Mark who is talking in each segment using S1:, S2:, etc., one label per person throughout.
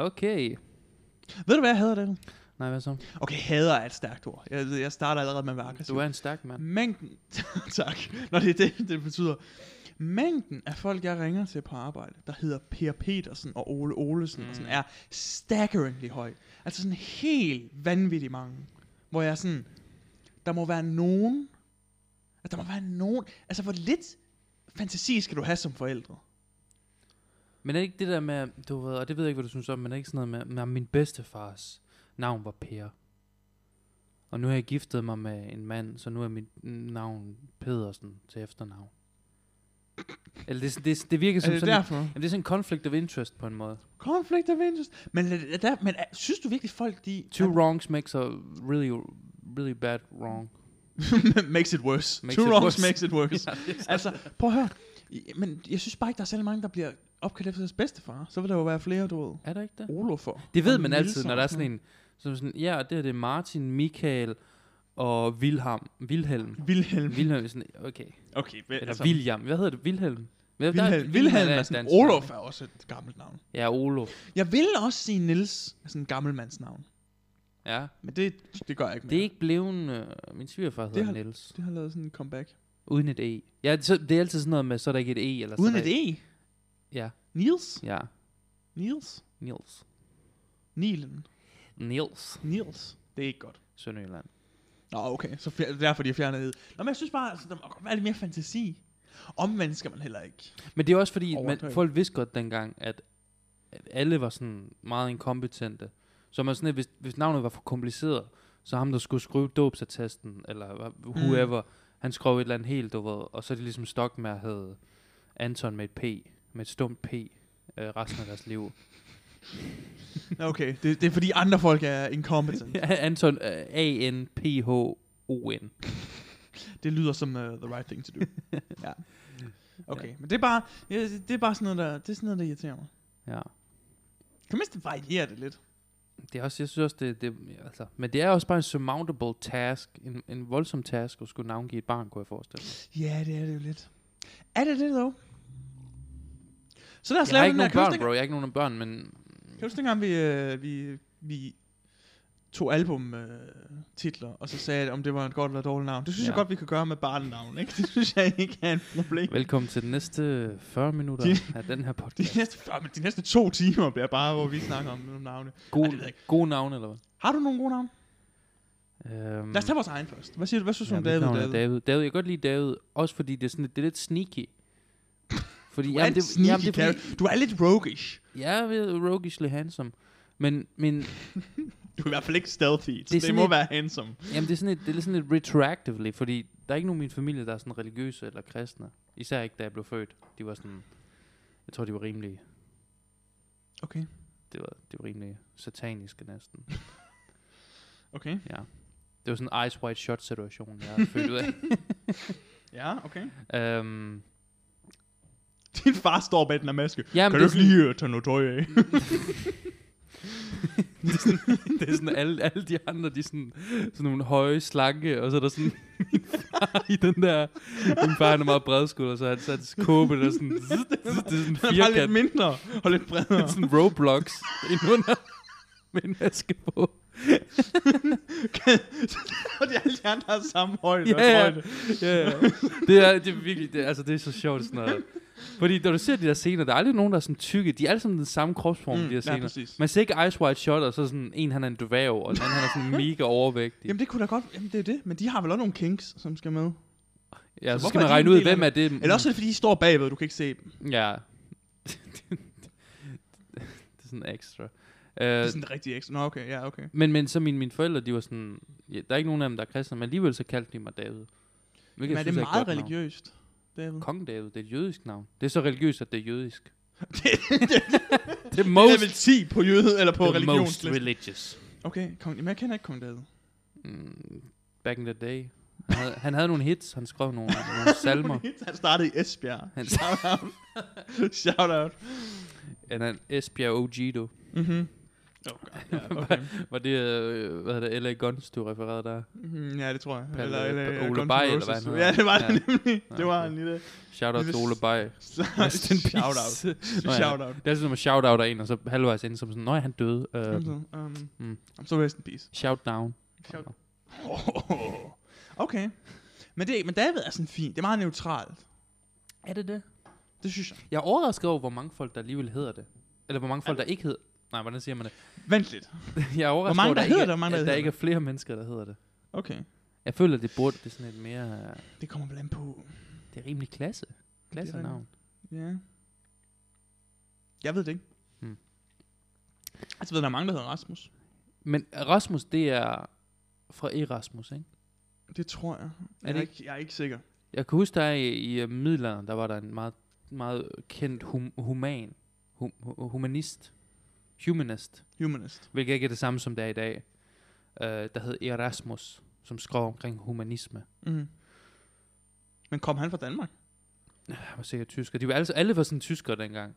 S1: Okay.
S2: Ved du, hvad jeg hader, David?
S1: Nej, hvad så?
S2: Okay, hader er et stærkt ord. Jeg, jeg starter allerede med at være aggressiv.
S1: Du er en stærk mand.
S2: Mængden... tak. Nå, det er det, det betyder. Mængden af folk, jeg ringer til på arbejde, der hedder Per Petersen og Ole Olesen, mm. og sådan, er staggeringly høj. Altså sådan helt vanvittigt mange. Hvor jeg er sådan, der må være nogen... At der må være nogen... Altså, hvor lidt fantasi skal du have som forældre?
S1: Men er det ikke det der med, du ved, og det ved jeg ikke, hvad du synes om, men er det ikke sådan noget med, med min bedstefars navn var Per. Og nu har jeg giftet mig med en mand, så nu er mit navn Pedersen til efternavn. Eller det, er sådan- det, er- det virker
S2: Er
S1: som
S2: det
S1: sådan,
S2: derfor?
S1: Jamen, det er sådan en conflict of interest på en måde.
S2: Conflict of interest. Men, er det- der, men er- synes du virkelig, folk de...
S1: Two wrongs makes a really, really bad wrong.
S2: makes it worse.
S1: Makes
S2: Two
S1: it
S2: wrongs
S1: worse.
S2: makes it worse.
S1: Ja, det er
S2: altså, prøv at høre. I- Men jeg synes bare ikke, der er særlig mange, der bliver opkaldt efter deres bedstefar. Så vil der jo være flere, du ved.
S1: Er der ikke det?
S2: Olofer.
S1: Det ved
S2: og
S1: man altid,
S2: Nielser
S1: når der er
S2: og
S1: sådan en, som sådan, ja, og det her det er Martin, Michael og Wilhelm. Wilhelm.
S2: noget. Vilhelm.
S1: Wilhelm er sådan, okay.
S2: Okay, vel,
S1: Eller William. Hvad hedder det? Wilhelm? Hvad- der er-
S2: Vilhelm, Vilhelm
S1: et
S2: altså- er sådan,
S1: dansk
S2: Olof
S1: navn,
S2: er også et gammelt navn.
S1: ikke? Ja, Olof.
S2: Jeg vil også sige Nils er sådan en gammel mands navn.
S1: Ja.
S2: Men det, det gør jeg ikke
S1: Det er
S2: mere.
S1: ikke blevet... Øh, min svigerfar hedder
S2: har-
S1: Niels.
S2: det har lavet sådan en comeback.
S1: Uden et E. Ja, så, det er altid sådan noget med, så er der ikke et E. Eller
S2: Uden
S1: så er
S2: et
S1: der,
S2: E.
S1: Ja,
S2: Niels.
S1: ja.
S2: Niels.
S1: Niels.
S2: Nilen.
S1: Niels.
S2: Niels. Det er ikke godt.
S1: Sønderjylland.
S2: Nå, okay. Så fjer- derfor de har fjernet ed. Nå, men jeg synes bare, altså, der må godt være lidt mere fantasi. Omvendt skal man heller ikke.
S1: Men det er også fordi, man,
S2: Overdrevet.
S1: folk vidste godt dengang, at, at alle var sådan meget inkompetente. Så man sådan, at hvis, hvis navnet var for kompliceret, så ham, der skulle skrive dåbsattesten, eller hva- whoever, mm. han skrev et eller andet helt, du ved, og så er det ligesom stok med at hedde Anton med et P, med et stumt P, øh, resten af deres liv.
S2: Nå, Okay, det, det er fordi andre folk er incompetent.
S1: Ja, Anton, øh, A-N-P-H-O-N.
S2: Det lyder som uh, the right thing to do. ja. Okay, men det er bare, ja, det det er bare sådan noget, der, det er sådan noget, der irriterer mig.
S1: Ja.
S2: Kan man mindst variere det lidt?
S1: Det er også, jeg synes også, det, det altså, men det er også bare en surmountable task, en, en voldsom task at skulle navngive et barn, kunne jeg forestille mig.
S2: Ja, det er det jo lidt. Er det det, dog? Så lad os
S1: Jeg har
S2: lave
S1: ikke
S2: den her.
S1: nogen
S2: Kan du
S1: børn, bro,
S2: huske,
S1: jeg har ikke nogen børn, men
S2: dengang- kan du huske dengang, vi, øh, vi, vi tog albumtitler, og så sagde jeg, om det var et godt eller et dårligt navn. Det synes
S1: Ja.
S2: ja. jeg godt, vi kan gøre med barnenavn, ikke? Det synes jeg ikke er et problem.
S1: velkommen til den næste 40 minutter
S2: De-
S1: af den her
S2: De
S1: podcast.
S2: næste, fyrre- men de næste to timer bliver bare, hvor vi snakker om, om navne. Ej, det ved
S1: God,
S2: jeg
S1: gode navne, eller hvad?
S2: Har du nogle gode navne?
S1: Øhm,
S2: Lad os tage vores egen først. Hvad siger du? Hvad synes du om
S1: mit
S2: David?
S1: navn er
S2: David?
S1: David. David, jeg kan godt lide David, også fordi det er, sådan, lidt- det er lidt sneaky. Fordi,
S2: Du er, det, sneaky,
S1: jamen, det er fordi,
S2: du er lidt roguish.
S1: jeg er ved- roguishly handsome. Men, men
S2: Du er i hvert fald ikke stealthy, så
S1: Det er
S2: det,
S1: sådan
S2: det må
S1: lidt-
S2: et... være handsome.
S1: Jamen, det er sådan lidt, det er sådan lidt retroactively, fordi der er ikke nogen i min familie, der er sådan religiøse eller kristne. Især ikke, da jeg blev født. De var sådan, jeg tror, de var rimelige.
S2: Okay,
S1: Det var, det var rimelig sataniske næsten.
S2: okay.
S1: Ja. Det var sådan en ice white shot situation, jeg er født ud af.
S2: Ja, okay.
S1: Øhm,
S2: Din far står bag den her maske.
S1: jamen,
S2: kan
S1: det
S2: du
S1: er
S2: ikke
S1: sådan-
S2: lige øh, tage noget tøj af?
S1: det er sådan, det er sådan alle, alle de andre, de er sådan, sådan nogle høje, slanke, og så er der sådan min far i den der, min far han er meget bredskulder, så han så hans kåbe, der er sådan, zzz, zzz, det er sådan en
S2: Den er bare
S1: firkant.
S2: lidt mindre og lidt bredere.
S1: sådan Roblox indenunder med en maske på.
S2: og de alle de andre har samme højde
S1: Ja, ja.
S2: og højde.
S1: Ja, ja. Det er, det er virkelig, det, altså det er så sjovt sådan noget. Fordi når du ser de der scener, der er aldrig nogen, der er sådan tykke. De er alle sammen den samme kropsform, mm, de her
S2: ja,
S1: scener.
S2: præcis.
S1: Man ser ikke Ice White Shot, og så sådan en, han er en dværg, og den anden, han er sådan mega overvægtig.
S2: Jamen det kunne da godt, jamen det er det, men de har vel også nogle kinks, som skal med.
S1: ja,
S2: så
S1: så,
S2: hvorfor
S1: skal man
S2: er de
S1: regne
S2: en
S1: ud,
S2: del af
S1: hvem er det.
S2: Eller også er det, fordi de står bagved, du kan ikke se dem.
S1: Ja. det er sådan ekstra.
S2: Det
S1: Uh,
S2: er sådan rigtig ekstra. Nå, okay, ja, okay.
S1: men, men så mine, mine forældre, de var sådan... Ja, der er ikke nogen af dem, der er kristne, men alligevel så kaldte de mig David. Hvilket
S2: Men
S1: jeg
S2: er det
S1: synes et
S2: meget
S1: godt navn.
S2: religiøst, David?
S1: Kong David, det er et jødisk navn. Det er så religiøst, at det er jødisk.
S2: Det-
S1: Det er
S2: Most,
S1: most,
S2: level 10 på jøde eller på
S1: the most
S2: religionslisten.
S1: religious.
S2: Okay, kong, jamen jeg kender ikke kong David.
S1: Mm, back in the day. Han havde, han havde nogle hits, han skrev nogle, nogle salmer.
S2: Han startede i Esbjerg.
S1: Han-
S2: Shout out. Shout out.
S1: Han er en Esbjerg OG, du.
S2: Mm-hmm. Ja, okay.
S1: Var det, øh, hvad hedder det, L.A. Guns, du refererede der?
S2: Mm, ja, det tror jeg.
S1: Palle-
S2: Eller, eller
S1: Ole
S2: Guns N'
S1: Bay, eller
S2: Roses.
S1: hvad han hedder.
S2: Ja, det var det
S1: Ja.
S2: nemlig.
S1: Ja,
S2: Det var
S1: okay.
S2: en lille...
S1: Shout out
S2: Hvis-
S1: til Ole Bay. Rest in peace.
S2: Shout out.
S1: Nå ja. Øh,
S2: Shout out.
S1: Det er sådan, at man shout out af en, og så halvvejs ind som sådan, nej, han døde. Uh,
S2: Um,
S1: mm.
S2: um, så rest in peace.
S1: shout down.
S2: Shout- Okay. Men, det, men David er sådan fint. Det er meget neutralt.
S1: Er det det?
S2: Det synes jeg.
S1: Jeg er overrasket over, hvor mange folk, der alligevel hedder det. Eller hvor mange folk, der ikke hedder... Nej, hvordan siger man det?
S2: Vent lidt.
S1: Jeg er overrasket
S2: mange,
S1: over,
S2: der
S1: ikke
S2: hedder
S1: er-
S2: det, og mange, der
S1: at
S2: ikke
S1: der
S2: hedder
S1: ikke er flere mennesker, der hedder det.
S2: Okay.
S1: Jeg føler, det burde det er sådan et mere...
S2: Det kommer vel an på.
S1: Det er rimelig klasse. Klassenavn.
S2: Ja. Jeg ved det ikke.
S1: Hmm.
S2: Altså, ved, der er mange, der hedder Rasmus.
S1: Men Rasmus, det er fra Erasmus, ikke?
S2: Det tror jeg. jeg, er
S1: det
S2: ikke, jeg er ikke sikker.
S1: Jeg kan huske, der i, i øh, middelalderen, der var der en meget, meget kendt hum, human, hum, hu- humanist, humanist,
S2: Humanist.
S1: hvilket ikke er det samme, som det er i dag, øh, der hed Erasmus, som skrev omkring humanisme.
S2: Mm. Men kom han fra Danmark?
S1: Han var sikkert tysker. De var alle, alle var sådan tyskere dengang.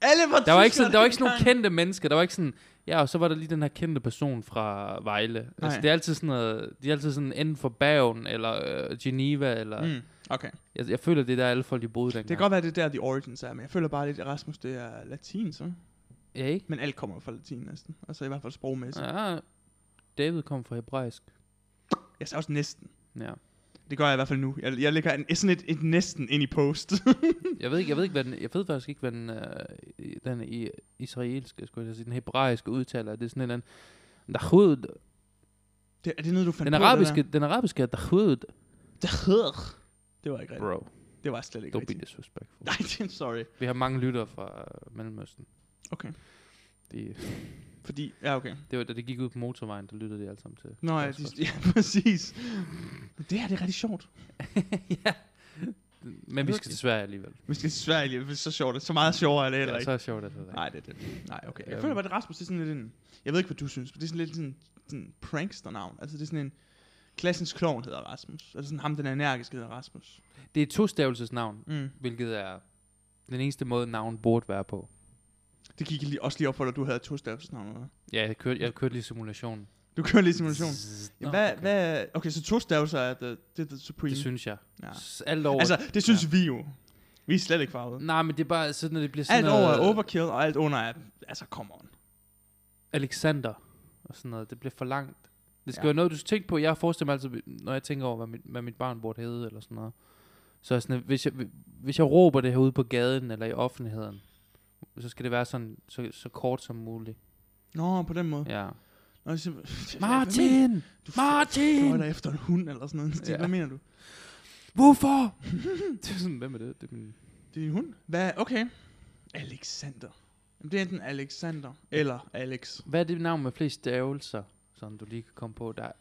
S2: Alle var
S1: Der var ikke sådan, der var ikke sådan nogle kendte mennesker. Der var ikke sådan, ja, og så var der lige den her kendte person fra Vejle. Nej.
S2: Nej.
S1: Altså, det er altid sådan noget, de er altid sådan enten for Bergen, eller øh, Geneva, eller... Mm.
S2: Mm. Okay.
S1: Jeg, jeg, føler, det er der alle folk, de boede dengang.
S2: Det kan godt være, det er der, de origins er, men jeg føler bare lidt, at Rasmus, det er latin, så.
S1: Ja, ikke?
S2: Men alt kommer fra latin næsten. Altså i hvert fald sprogmæssigt. Ja.
S1: Ja, David kom fra hebraisk.
S2: Jeg sagde også næsten.
S1: Ja.
S2: Det gør jeg i hvert fald nu. Jeg, jeg lægger en, sådan et, et næsten ind i post.
S1: Jeg ved ikke, jeg ved ikke, hvad den, jeg ved faktisk ikke, hvad den, øh, i- den i, israelske, skulle jeg sige, den hebraiske udtaler, er det er sådan en eller anden, Dahud.
S2: det, er det noget, du fandt
S1: Den
S2: på,
S1: arabiske, den arabiske er Dahud.
S2: Det, der? Det hedder. Det var ikke rigtigt.
S1: Bro,
S2: Det var slet ikke
S1: don't be
S2: rigtigt.
S1: disrespectful.
S2: Nej, det er sorry.
S1: Vi har mange lyttere fra øh, Mellemøsten.
S2: Okay.
S1: De,
S2: Fordi, ja okay.
S1: det var, da det gik ud på motorvejen, der lyttede de alle sammen til.
S2: Nå ja,
S1: vores
S2: de,
S1: podcast.
S2: ja præcis. Men det her, det er rigtig sjovt.
S1: ja. Men vi skal til Sverige alligevel.
S2: Vi skal til Sverige, det er så sjovt. Så meget sjovere er det heller
S1: Ja,
S2: ikke.
S1: så er sjovt, at det er.
S2: Nej, det er det. Nej, okay. Jeg
S1: Øhm.
S2: føler bare, at Rasmus, det er sådan lidt en... Jeg ved ikke, hvad du synes, men det er sådan lidt sådan, sådan prankster-navn. Altså, det er sådan en... Klassens klovn hedder Rasmus. Altså sådan ham, den energiske hedder Rasmus.
S1: Det er tostavelsesnavn,
S2: Mm.
S1: hvilket er den eneste måde, navn burde være på.
S2: Det gik lige, også lige op for dig, du havde to stavelsesnavn. Eller? hvad?
S1: Ja, jeg kørte, jeg kørte lige simulationen.
S2: Du kører lige simulation.
S1: Nå,
S2: Jamen, hvad,
S1: okay.
S2: okay. hvad... Okay, så to stavelser er the, det er the supreme.
S1: Det synes jeg.
S2: ja.
S1: S- Alt over...
S2: Altså, det synes ja. vi jo. Vi er slet ikke farvet.
S1: Nej, men det er bare sådan, at det bliver sådan
S2: Alt over
S1: noget...
S2: er overkill, og alt under er... Altså, come on.
S1: Alexander og sådan noget. Det bliver for langt. Det skal
S2: Ja.
S1: ja. være noget, du skal tænke på. Jeg forestiller mig altid, når jeg tænker over, hvad mit, hvad mit barn burde hedde, eller sådan noget. Så er jeg sådan, at hvis jeg, hvis jeg råber det herude på gaden, eller i offentligheden, så skal det være sådan, så, så kort som muligt.
S2: Nå, på den måde. Ja.
S1: Ja.
S2: Nå, det er simpelthen- Hvad mener
S1: Martin!
S2: Du Du er
S1: Martin!
S2: der efter en hund eller sådan noget. Ja.
S1: Ja.
S2: Hvad mener du?
S1: Hvorfor? det er sådan, hvem er det? Det er min...
S2: Det er din hund? Hvad? Okay. Alexander. Jamen, det er enten Alexander eller Alex.
S1: Hvad er det navn med flest stavelser, som du lige kan komme på? Der,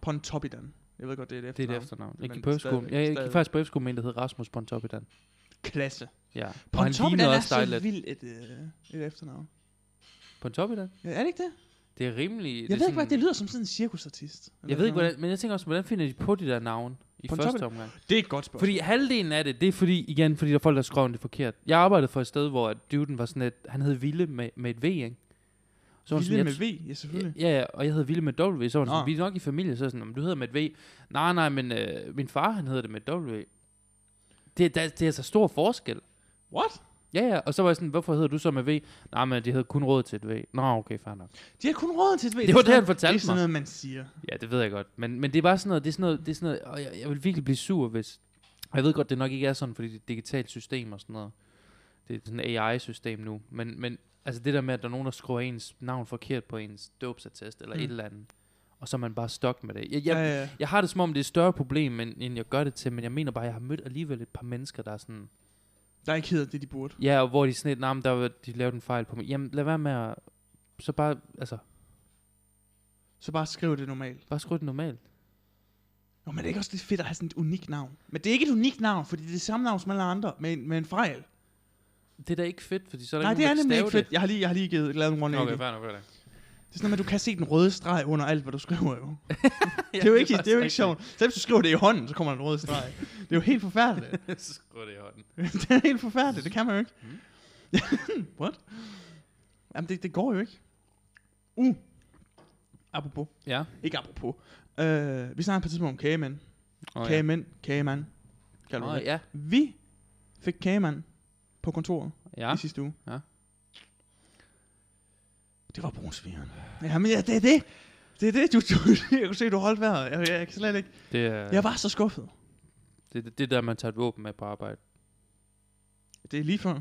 S2: Pontoppidan. Jeg ved godt, det er et
S1: det er
S2: efternavn.
S1: det efternavn. Jeg
S2: Men
S1: gik på efterskolen.
S2: stadigvæk-
S1: Ja, jeg gik
S2: stadigvæk.
S1: faktisk på efterskolen med en, der hed Rasmus Pontoppidan.
S2: Klasse.
S1: Ja. Og
S2: Pontoppidan
S1: lignede
S2: er
S1: også dig
S2: så
S1: lidt.
S2: vildt et, øh, et efternavn.
S1: Pontoppidan?
S2: Ja, er det ikke det?
S1: Det er rimelig...
S2: Jeg ved ikke, hvad det lyder som sådan en cirkusartist.
S1: Jeg ved ikke, hvordan, men jeg tænker også, hvordan finder de på de der navne i
S2: Pontoppidan?
S1: første omgang?
S2: Det er et godt spørgsmål.
S1: Fordi halvdelen af det, det er fordi, igen, fordi der er folk, der skrev det forkert. Jeg arbejdede for et sted, hvor at duden var sådan et, han hed Ville med, med et V, ikke? Så var han
S2: Vilde
S1: sådan,
S2: med
S1: jeg-
S2: V, ja selvfølgelig.
S1: Ja, ja, og jeg hedder Ville med W, så var han
S2: Nå.
S1: sådan, vi er nok i familie, så er jeg sådan, "Nå, men du hedder med et V. Nej, nej, men øh, min far, han hedder det med et W. Det, der, det er altså stor forskel.
S2: What?
S1: Ja, ja, og så var jeg sådan, hvorfor hedder du så med V? Nej, men de havde kun råd til et V. Nå, okay, fair nok.
S2: De har kun råd til et V.
S1: Det var det,
S2: sådan-
S1: han fortalte
S2: Det er sådan
S1: mig.
S2: noget, man siger.
S1: Ja, det ved jeg godt. Men, men det er bare sådan noget, det er sådan noget, det er sådan noget, og jeg, jeg vil virkelig blive sur, hvis... og Jeg ved godt, det nok ikke er sådan, fordi det er et digitalt system og sådan noget. Det er sådan et AI-system nu. Men, men altså det der med, at der er nogen, der skriver ens navn forkert på ens dåbsattest eller
S2: Mm.
S1: et eller andet, og så er man bare stok med det. Jeg,
S2: Ja,
S1: jeg,
S2: ja, ja.
S1: jeg har det som om, det er et større problem, end, end jeg gør det til, men jeg mener bare, at jeg har mødt alligevel et par mennesker, der er sådan,
S2: Der er ikke hedder det, de burde.
S1: ja, og hvor de sådan et, nah, men der var, de lavede en fejl på mig. Jamen, lad være med at, så bare, altså,
S2: Så bare skriv det normalt.
S1: bare skriv det normalt.
S2: Nå, men det er ikke også lidt fedt at have sådan et unikt navn? Men det er ikke et unikt navn, fordi det er det samme navn som alle andre, med en, med en fejl.
S1: Det er da ikke fedt, fordi så er der
S2: Nej,
S1: ikke
S2: det er
S1: nogen, der
S2: nemlig
S1: kan
S2: ikke
S1: stave
S2: fedt. Jeg har lige, jeg har lige givet, lavet en
S1: det.
S2: 180.
S1: Okay, fair nok, fair nok.
S2: Det er sådan, at du kan se den røde streg under alt, hvad du skriver jo. det er jo ikke, det er jo ikke sjovt. Selv hvis du skriver det i hånden, så kommer der en rød streg. det er jo helt forfærdeligt.
S1: så skriver det i hånden. Mm.
S2: det er helt forfærdeligt, det kan man jo ikke. What? Jamen, det, det går jo ikke. Uh. Apropos.
S1: Ja.
S2: Ikke apropos. Øh, vi snakker på et tidspunkt om kagemænd.
S1: Oh, ja.
S2: Kagemænd. Kagemand. Kalder du
S1: Nå,
S2: det?
S1: ja.
S2: Vi fik kagemand på kontoret
S1: Ja.
S2: i sidste uge.
S1: Ja.
S2: Det var brunsvigeren. Ja, men ja, det er det. Det er det, du, du, jeg kunne se, du holdt vejret. Jeg, jeg, jeg kan slet ikke.
S1: Det er
S2: Jeg var så skuffet.
S1: det, det, det er der, man tager et våben med på arbejde.
S2: Det er lige før.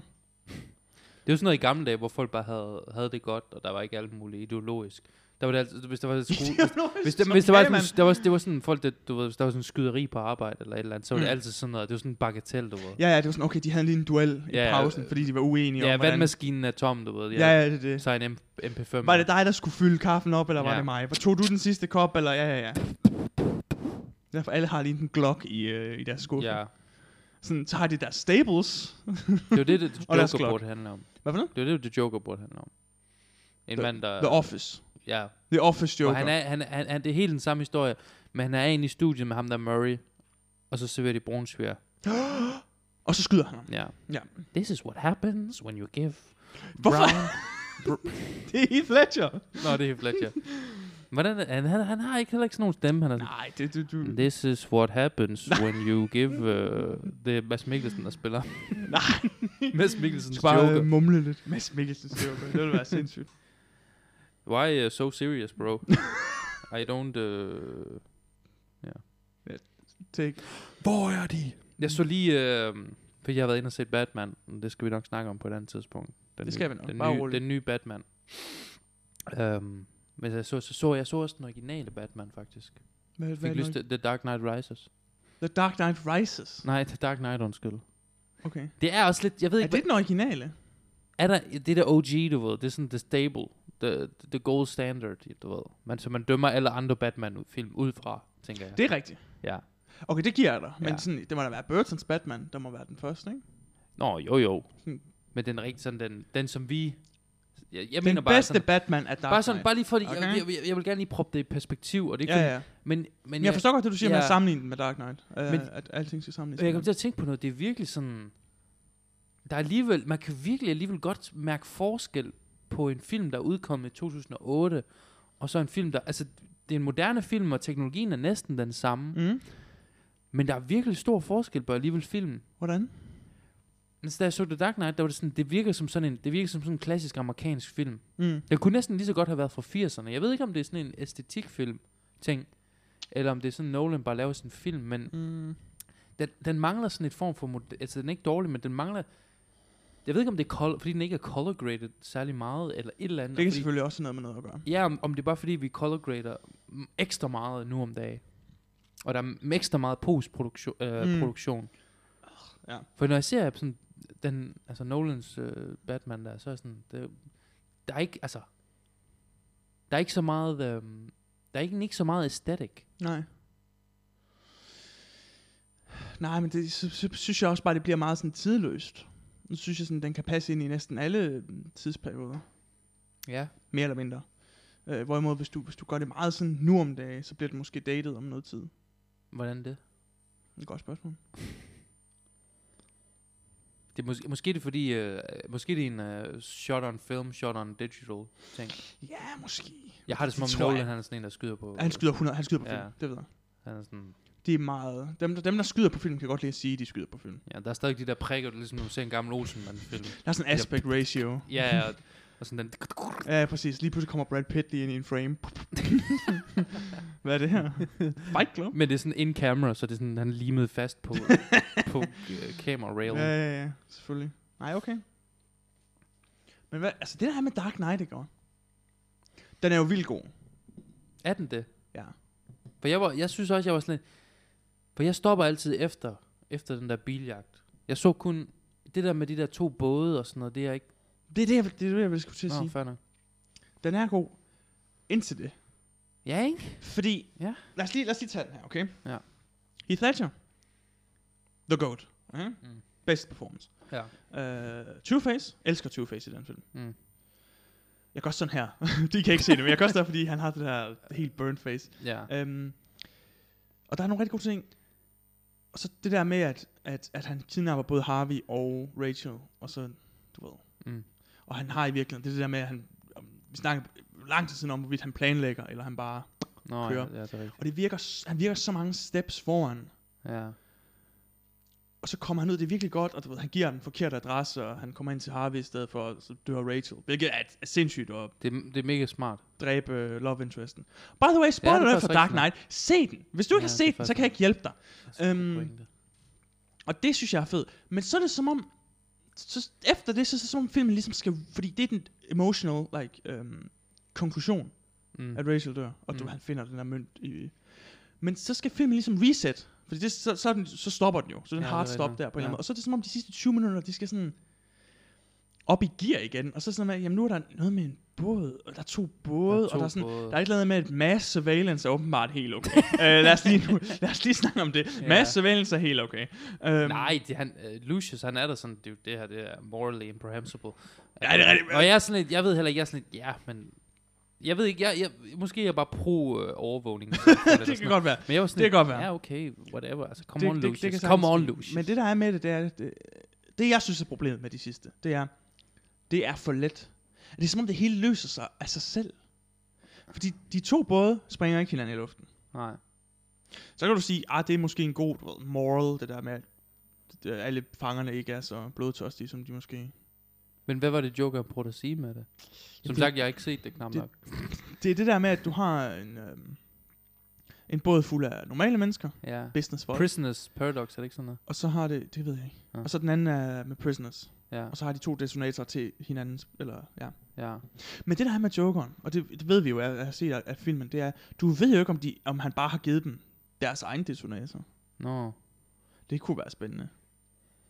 S1: Det er jo sådan noget i gamle dage, hvor folk bare havde, havde det godt, og der var ikke alt muligt ideologisk. Der var det altid, hvis der var skole, hvis, hvis, der, hvis der var, sådan, der var, det var sådan folk, der, du ved, hvis der var sådan en skyderi på arbejde eller et eller andet, så var det
S2: Mm.
S1: altid sådan noget, det var sådan en bagatell, du ved.
S2: Ja, ja, det var sådan, okay, de havde lige en duel i
S1: Ja, ja,
S2: pausen,
S1: øh,
S2: fordi de var uenige
S1: ja
S2: om, hvordan...
S1: vandmaskinen er tom, du ved.
S2: Ja, ja, det er det.
S1: Så en M- MP5.
S2: Var det dig, der skulle fylde kaffen op, eller var
S1: Ja.
S2: det mig? Hvor tog du den sidste kop, eller ja, ja, ja. Derfor alle har lige en Glock i, øh, i deres skuffe.
S1: Ja,
S2: Sådan, så har de deres staples.
S1: det er jo det, det, det
S2: Og deres klok.
S1: Joker-board handler om.
S2: Hvad for noget?
S1: Det er jo det, det Joker-board handler om. En
S2: The-
S1: mand, der...
S2: The Office.
S1: ja,
S2: The Office Joker.
S1: Og han er, han, han, han, det er helt den samme historie, men han er egentlig i studiet med ham der Murray, og så serverer de brunsviger.
S2: Og så skyder han ham.
S1: Ja.
S2: Ja.
S1: This is what happens when you give
S2: Hvorfor?
S1: brown...
S2: Det er Heath Ledger.
S1: Nå, det er Heath Ledger. Hvordan, er- han, han, han har ikke heller ikke sådan nogen stemme, han er sådan,
S2: Nej, det du, du.
S1: This is what happens when you give... Uh, det er Mads Mikkelsen, der spiller.
S2: Nej.
S1: Mads Mikkelsens
S2: Du skal bare
S1: Joker.
S2: øh, mumle lidt. Mads Mikkelsens Joker. Det ville være sindssygt.
S1: Why uh, so serious, bro? I don't... Uh...
S2: Take. Hvor er de?
S1: Jeg så lige... Uh, fordi jeg har været inde og set Batman. men Det skal vi nok snakke om på et andet tidspunkt. Den
S2: Det
S1: nye,
S2: skal vi nok.
S1: Den,
S2: Bare
S1: nye,
S2: rolig.
S1: den nye Batman. Um, men jeg så, så, så, jeg så også den originale Batman, faktisk.
S2: Hvad,
S1: Jeg fik lyst
S2: til.
S1: til The Dark Knight Rises.
S2: The Dark Knight Rises.
S1: Nej, The Dark Knight, undskyld.
S2: Okay.
S1: Det er også lidt... Jeg ved
S2: Er
S1: ikke,
S2: det den originale?
S1: er der det der OG, du ved, det er sådan the stable, the, the gold standard, du ved. Man, så man dømmer alle andre Batman-film ud fra, tænker jeg.
S2: Det er rigtigt.
S1: Ja.
S2: Okay, det giver jeg dig. Men
S1: Ja.
S2: sådan, det må da være Burtons Batman, der må være den første, ikke?
S1: Nå, jo jo.
S2: Hmm.
S1: Men den er rigtig sådan, den, den som vi... Jeg, jeg
S2: den
S1: mener bare
S2: bedste
S1: sådan,
S2: Batman er Dark
S1: bare sådan,
S2: Knight.
S1: bare lige fordi, okay.
S2: Okay.
S1: jeg, jeg, jeg, vil gerne lige proppe det i perspektiv, og det er
S2: ja,
S1: ikke
S2: ja.
S1: Men,
S2: Men
S1: men
S2: jeg forstår godt, det du siger med
S1: ja.
S2: at sammenligne den med Dark Knight. Øh,
S1: Men-
S2: at alting skal sammenlignes.
S1: jeg, jeg kom
S2: med
S1: til at tænke på noget, det er virkelig sådan, der er alligevel, man kan virkelig alligevel godt mærke forskel på en film, der er udkommet i 2008, og så en film, der, altså det er en moderne film, og teknologien er næsten den samme,
S2: hinanden. Mm.
S1: men der er virkelig stor forskel på alligevel filmen.
S2: Hvordan?
S1: Men så da jeg så The Dark Knight, der var det sådan, det virker som sådan en, det virker som sådan en klassisk amerikansk film.
S2: Mm.
S1: Den kunne næsten lige så godt have været fra 80'erne. Jeg ved ikke, om det er sådan en æstetikfilm ting, eller om det er sådan, Nolan bare laver sin film, men
S2: Mm.
S1: den, den mangler sådan et form for, mod- altså den er ikke dårlig, men den mangler, jeg ved ikke om det er color, fordi den ikke er color graded særlig meget, eller et eller andet.
S2: Det kan
S1: fordi,
S2: selvfølgelig også have noget med noget at gøre.
S1: ja, om, om det er bare fordi, vi color grader mm, ekstra meget nu om dagen. Og der er m- ekstra meget postproduktion. Øh,
S2: Mm.
S1: mm. produktion.
S2: ja.
S1: For når jeg ser sådan, den, altså Nolans øh, Batman der, så er sådan, det, der er ikke, altså, der er ikke så meget, øh, der er ikke, ikke så meget aesthetic.
S2: Nej. Nej, men det så, så, synes jeg også bare, det bliver meget sådan tidløst. Nu synes jeg sådan, den kan passe ind i næsten alle øh, tidsperioder.
S1: Ja.
S2: Mere eller mindre. Øh, hvorimod, hvis du, hvis du gør det meget sådan nu om dagen, så bliver det måske datet om noget tid.
S1: Hvordan det?
S2: Et godt spørgsmål.
S1: Det er mås- måske det er fordi, øh, måske det er en øh, shot on film, shot on digital ting.
S2: Ja, måske.
S1: Jeg har det som
S2: Det
S1: om
S2: tror
S1: Nolan,
S2: jeg.
S1: han er sådan en, der skyder på.
S2: Han skyder, 100, han skyder på
S1: Ja.
S2: film, det ved jeg.
S1: Han er sådan,
S2: Det er meget... Dem, der- dem, der skyder på film, kan godt lide at sige, at de skyder på film.
S1: ja, der er stadig de der prikker, det er ligesom når du ser en gammel Olsenmand film.
S2: Der er sådan en
S1: Ja.
S2: aspect ratio.
S1: Ja, ja, og, og sådan den.
S2: Ja, præcis. Lige pludselig kommer Brad Pitt lige ind i en frame. Hvad er det her? Fight Club?
S1: Men det er sådan in camera, så det er sådan, han limede fast på, på øh, camera rail.
S2: Ja, ja, ja. Selvfølgelig. Nej, okay. Men hvad, altså det der her med Dark Knight, ikke? også? Den er jo vildt god.
S1: Er den det?
S2: Ja.
S1: For jeg, var, jeg synes også, jeg var sådan lidt- For jeg stopper altid efter, efter den der biljagt. Jeg så kun det der med de der to både og sådan noget, det er jeg ikke...
S2: Det er det, jeg, det, er det, jeg vil skulle til at
S1: Nå,
S2: sige.
S1: fair nok.
S2: Den er god. Indtil det.
S1: Ja, ikke?
S2: Fordi,
S1: Ja.
S2: lad, os lige, lad os lige tage den her, okay?
S1: Ja.
S2: Heath Ledger. The Goat. Okay?
S1: Mm.
S2: Best performance.
S1: Ja.
S2: Uh, Two-Face. Elsker Two-Face i den film.
S1: Mm.
S2: Jeg gør også sådan her. De kan ikke se det, men jeg gør også der, fordi han har det der helt burnt face.
S1: Ja.
S2: Øhm, og der er nogle rigtig gode ting. Og så det der med, at, at, at han kidnapper både Harvey og Rachel, og så, du ved.
S1: Mm.
S2: Og han har i virkeligheden, det er det der med, at han, vi snakker lang tid siden om, hvorvidt han planlægger, eller han bare...
S1: Nå, ja,
S2: kører.
S1: ja, det er rigtigt.
S2: Og det virker, s- han virker så mange steps foran.
S1: Ja.
S2: Og så kommer han ud, det er virkelig godt, og du ved, han giver den forkerte adresse, og han kommer ind til Harvey i stedet for, og så dør Rachel. Hvilket er, er sindssygt at
S1: Det, er- det er mega smart.
S2: dræbe øh, love interesten. By the way, spoiler
S1: det er
S2: ja,
S1: faktisk
S2: for Dark
S1: rigtigt nok.
S2: Knight. Se den. Hvis du ikke
S1: Ja, det er
S2: ja, har set den, så
S1: faktisk
S2: kan jeg ikke hjælpe dig.
S1: Altså, det er
S2: Øhm,
S1: pointen.
S2: Og det synes jeg er fedt. Men så er det som om, så efter det, så, så er det som om filmen ligesom skal, fordi det er den emotional, like, øhm, konklusion,
S1: mm.
S2: at Rachel dør, og du,
S1: Mm.
S2: han finder den der mønt i... Men så skal filmen ligesom reset, fordi det, så, så, er den, så stopper den jo, så er
S1: Ja,
S2: den ja,
S1: det er
S2: hard
S1: rigtigt nok.
S2: stop der på en eller anden
S1: Ja.
S2: måde. Og så er det som om de sidste 20 minutter, de skal sådan op i gear igen, og så sådan, at, jamen nu er der noget med en båd, og der er to både,
S1: Der er
S2: der er
S1: to
S2: og der er sådan,
S1: både.
S2: der er et eller andet med, at mass surveillance er åbenbart helt okay. uh, lad, os lige nu, lad os lige snakke om det.
S1: Ja.
S2: Yeah. Mass surveillance er helt okay. Um,
S1: Nej, det, han, uh, Lucius, han er der sådan, det, det her, det er morally imprehensible.
S2: Ja, det er rigtigt.
S1: Og jeg er sådan lidt, jeg ved heller ikke, jeg er sådan lidt, ja, men... Jeg ved ikke, jeg, jeg, måske er jeg bare øh, pro-overvågning.
S2: det kan godt være.
S1: Men jeg var sådan
S2: Det kan
S1: lidt,
S2: godt være.
S1: Ja, okay, whatever. Altså, come
S2: det,
S1: on,
S2: det-
S1: Lucius.
S2: det kan
S1: come on,
S2: sagtens-
S1: Lucius.
S2: Men det, der er med det, det er, det, det jeg synes er problemet med de sidste, det er, det er for let. Det er som om, det hele løser sig af sig selv. Fordi de to både springer ikke hinanden i luften.
S1: Nej.
S2: Så kan du sige, at det er måske en god du ved, moral, det der med, at øh, alle fangerne ikke er så blodtørstige, som de måske...
S1: Men hvad var det, Joker prøvede at sige med det? Som
S2: det-
S1: sagt, jeg har ikke set det knap
S2: det-
S1: nok.
S2: Det er det der med, at du har en, øhm, en båd fuld af normale mennesker,
S1: Ja.
S2: businessfolk,
S1: Prisoners Paradox, er det ikke sådan noget?
S2: og så har det, det ved jeg ikke,
S1: Ja.
S2: og så den anden er med prisoners,
S1: Ja,
S2: og så har de to detonatorer til hinandens, eller ja.
S1: ja.
S2: Men det der er med Jokeren, og det, det ved vi jo af, af, set af, af filmen, det er, du ved jo ikke, om, de, om han bare har givet dem deres egen detonator.
S1: Nå.
S2: Det kunne være spændende.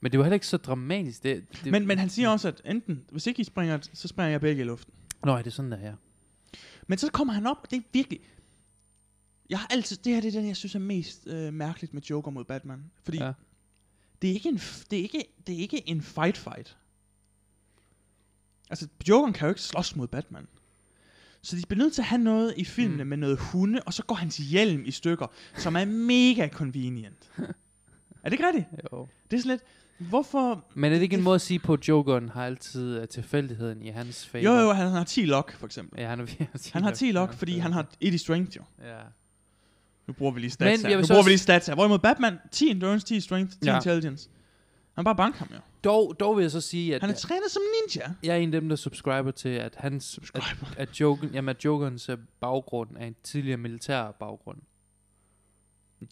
S1: Men det var heller ikke så dramatisk. Det, det,
S2: Men, men han siger også, at enten, hvis ikke I springer, så springer jeg begge i luften.
S1: Nå, er det sådan der, ja.
S2: Men så kommer han op, og det er virkelig... Jeg har altid, det her det er den, jeg synes er mest øh, mærkeligt med Joker mod Batman. Fordi
S1: Ja.
S2: ja. det, er ikke en, f- det, er ikke, det er ikke en fight-fight. Altså, Jokeren kan jo ikke slås mod Batman. Så de bliver nødt til at have noget i filmene
S1: Mm.
S2: mm. med noget hunde, og så går hans hjelm i stykker, som er mega convenient. er det ikke rigtigt?
S1: Jo.
S2: Det er sådan lidt, hvorfor...
S1: Men er det ikke en
S2: Det-
S1: måde at sige på, at Jokeren har altid øh, tilfældigheden i hans favor?
S2: Jo, jo, han har 10 lock, for eksempel.
S1: Ja, han, er, ved-
S2: Han har 10 lock, fordi han har et i strength, jo.
S1: Ja.
S2: Nu bruger vi lige
S1: Men
S2: stats
S1: jeg
S2: her.
S1: vil
S2: Nu
S1: så
S2: bruger
S1: også-
S2: vi lige stats her. Hvorimod Batman, 10 endurance, 10 strength, 10
S1: Ja.
S2: ja. intelligence. Han bare banker ham jo.
S1: Dog, dog vil jeg så sige, at
S2: Han er trænet som ninja.
S1: jeg er en af dem, der subscriber til, at hans...
S2: Subscriber.
S1: At, at, Joker, jamen, at Jokerens øh, baggrund er en tidligere militær baggrund.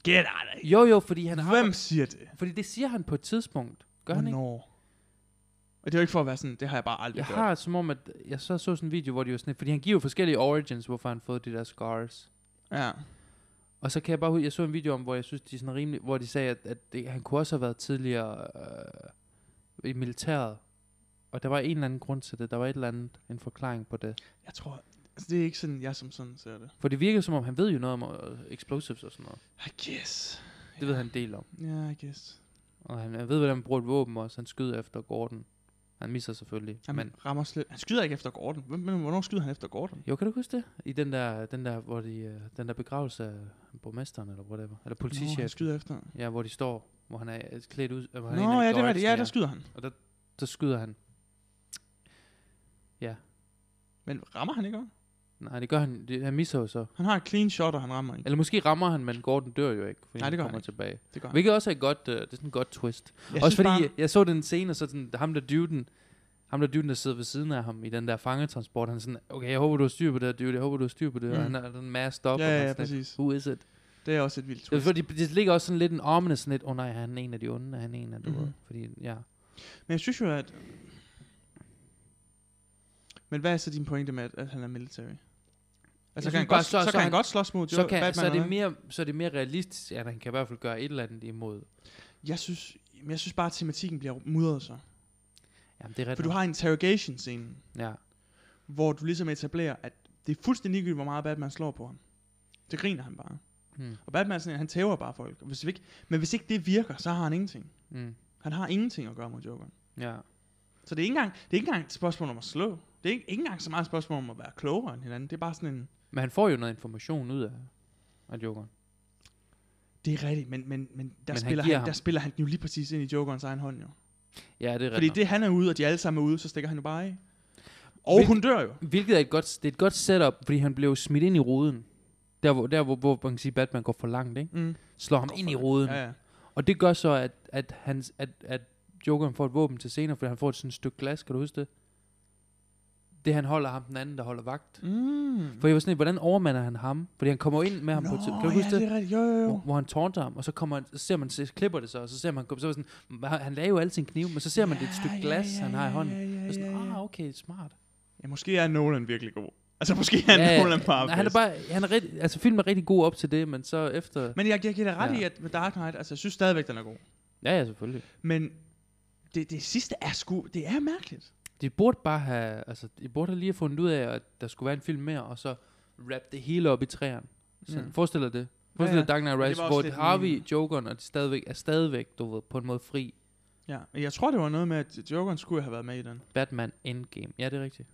S2: Get out of here.
S1: Jo, jo, fordi han har...
S2: Hvem siger det?
S1: Fordi det siger han på et tidspunkt. Gør han ikke?
S2: Hvornår? Og det er jo ikke for at være sådan, det har jeg bare aldrig
S1: Jeg
S2: hørt.
S1: har som om, at jeg så så sådan en video, hvor de var sådan, lidt- fordi han giver jo forskellige origins, hvorfor han har fået de der scars.
S2: Ja.
S1: Og så kan jeg bare huske, jeg så en video om, hvor jeg synes, de er sådan rimelig, hvor de sagde, at, at det, han kunne også have været tidligere øh, i militæret. Og der var en eller anden grund til det. Der var et eller andet, en forklaring på det.
S2: Jeg tror, altså, det er ikke sådan, jeg som sådan ser det.
S1: For det virker som om, han ved jo noget om øh, explosives og sådan noget.
S2: I guess.
S1: Det ved han en del om.
S2: Ja, yeah, I guess.
S1: Og han, han ved, hvordan man bruger et våben også. Han skyder efter Gordon. Han misser selvfølgelig.
S2: Jamen,
S1: Men,
S2: men rammer slet. Han skyder ikke efter Gordon. Hvem, men hvornår skyder han efter Gordon?
S1: jo, kan du huske det? I den der, den der, hvor de, øh, den der begravelse af borgmesteren, eller whatever. Eller
S2: Nå, han
S1: politichefen.
S2: skyder efter.
S1: Ja, hvor de står, hvor han er øh, klædt ud. øh, Hvor han er
S2: Nå,
S1: en af de
S2: ja, det var det.
S1: guardsene,
S2: Ja, der skyder han.
S1: Så skyder han. Ja.
S2: Men rammer han ikke også?
S1: Nej, det gør han. Det, han misser jo så.
S2: Han har et clean shot, og han rammer ikke.
S1: Eller måske rammer han, men Gordon dør jo ikke, fordi
S2: Nej,
S1: han
S2: det gør han
S1: kommer
S2: ikke.
S1: tilbage.
S2: Det gør han.
S1: Hvilket også er et godt, øh, det er sådan et godt twist.
S2: Jeg
S1: også
S2: synes
S1: fordi
S2: bare-
S1: jeg, jeg så den scene, og så sådan, ham der duden, ham der duden, der sidder ved siden af ham i den der fangetransport, han er sådan, okay, jeg håber, du har styr på det her, dude, jeg håber, du har styr på det, mm. og
S2: Mm.
S1: han er den masked up,
S2: Ja,
S1: og man
S2: ja,
S1: er
S2: ja,
S1: sådan lidt,
S2: præcis.
S1: Who is it?
S2: Det er også et vildt
S1: Det, er
S2: twist.
S1: fordi, det ligger også sådan lidt en armende, sådan lidt, åh oh, nej, han er en af de onde, han er en af de
S2: Mhm.
S1: mm. Fordi, ja.
S2: Men jeg synes jo, at... Men hvad er så din pointe med, at, at han er military? Altså,
S1: synes
S2: så kan, han
S1: bare,
S2: godt,
S1: så-
S2: så,
S1: så
S2: så, kan han
S1: han-
S2: godt slås mod
S1: så, kan,
S2: Batman.
S1: så, er
S2: eller
S1: det
S2: hvad?
S1: mere, så er det mere realistisk, at han kan i hvert fald gøre et eller andet imod.
S2: Jeg synes, jamen, jeg synes bare, at tematikken bliver mudret så.
S1: Jamen, det er
S2: For
S1: rigtigt.
S2: du har interrogation-scenen,
S1: Ja.
S2: hvor du ligesom etablerer, at det er fuldstændig ligegyldigt, hvor meget Batman slår på ham. Det griner han bare.
S1: Mm.
S2: Og Batman, er sådan, en, han tæver bare folk. Og Hvis vi ikke, men hvis ikke det virker, så har han ingenting.
S1: Mm.
S2: Han har ingenting at gøre mod Jokeren.
S1: Ja.
S2: Så det er, ikke engang, det er ikke engang et spørgsmål om at slå. Det er ikke, ikke engang så meget et spørgsmål om at være klogere end hinanden. Det er bare sådan en,
S1: Men han får jo noget information ud af, af Jokeren.
S2: Det er rigtigt, men, men, men, der,
S1: han
S2: men spiller
S1: giver
S2: han,
S1: ham-
S2: der spiller han den jo lige præcis ind i Jokerens egen hånd, jo.
S1: Ja, det er
S2: Fordi
S1: rigtigt.
S2: det, han er ude, og de alle sammen er ude, så stikker han jo bare af. Og
S1: Hvil-
S2: hun dør jo.
S1: Hvilket er et godt, det er et godt setup, fordi han blev smidt ind i ruden. Der, hvor, der hvor, hvor man kan sige, Batman går for langt, ikke?
S2: Mm.
S1: Slår ham ind i ruden.
S2: Ja, ja.
S1: Og det gør så, at, at, hans, at, at Jokeren får et våben til senere, fordi han får et sådan stykke glas, kan du huske det? Det han holder ham, den anden, der holder vagt.
S2: Mm.
S1: For jeg var sådan, lidt, hvordan overmander han ham? Fordi han kommer ind med ham på et tid- Kan du huske
S2: ja,
S1: det?
S2: er rigtigt. Jo, jo,
S1: Hvor,
S2: jo.
S1: hvor han tårter ham, og så kommer han, så ser man, så klipper det så, og så ser man, så var sådan, "Hva- han lagde jo altid en kniv, men så ser man, det er et stykke glas, han har i hånden.
S2: Ja, ja,
S1: Og sådan,
S2: ja,
S1: ah,
S2: ja.
S1: okay, smart.
S2: ja, måske er Nolan virkelig god. Altså, måske er Nolan bare
S1: nej, han er
S2: bedst.
S1: bare, han er rigtig, altså filmen er rigtig god op til det, men så efter,
S2: Men jeg, jeg giver dig ret
S1: Ja.
S2: i, at med Dark Knight, altså, jeg synes stadigvæk, den er god.
S1: ja, ja, selvfølgelig.
S2: Men det, det sidste er sgu, det er mærkeligt.
S1: De burde bare have, altså, de burde have lige have fundet ud af, at der skulle være en film mere, og så wrap det hele op i træerne. Så
S2: Ja.
S1: mm. forestil dig det.
S2: Ja,
S1: Forestil dig
S2: ja.
S1: Dark Knight
S2: det
S1: Rises,
S2: var også
S1: hvor
S2: lidt
S1: Harvey,
S2: min-
S1: min... Jokeren og de stadigvæk, er stadigvæk, du ved, på en måde fri.
S2: Ja, men jeg tror, det var noget med, at Jokeren skulle have været med i den,
S1: Batman Endgame. Ja, det er rigtigt.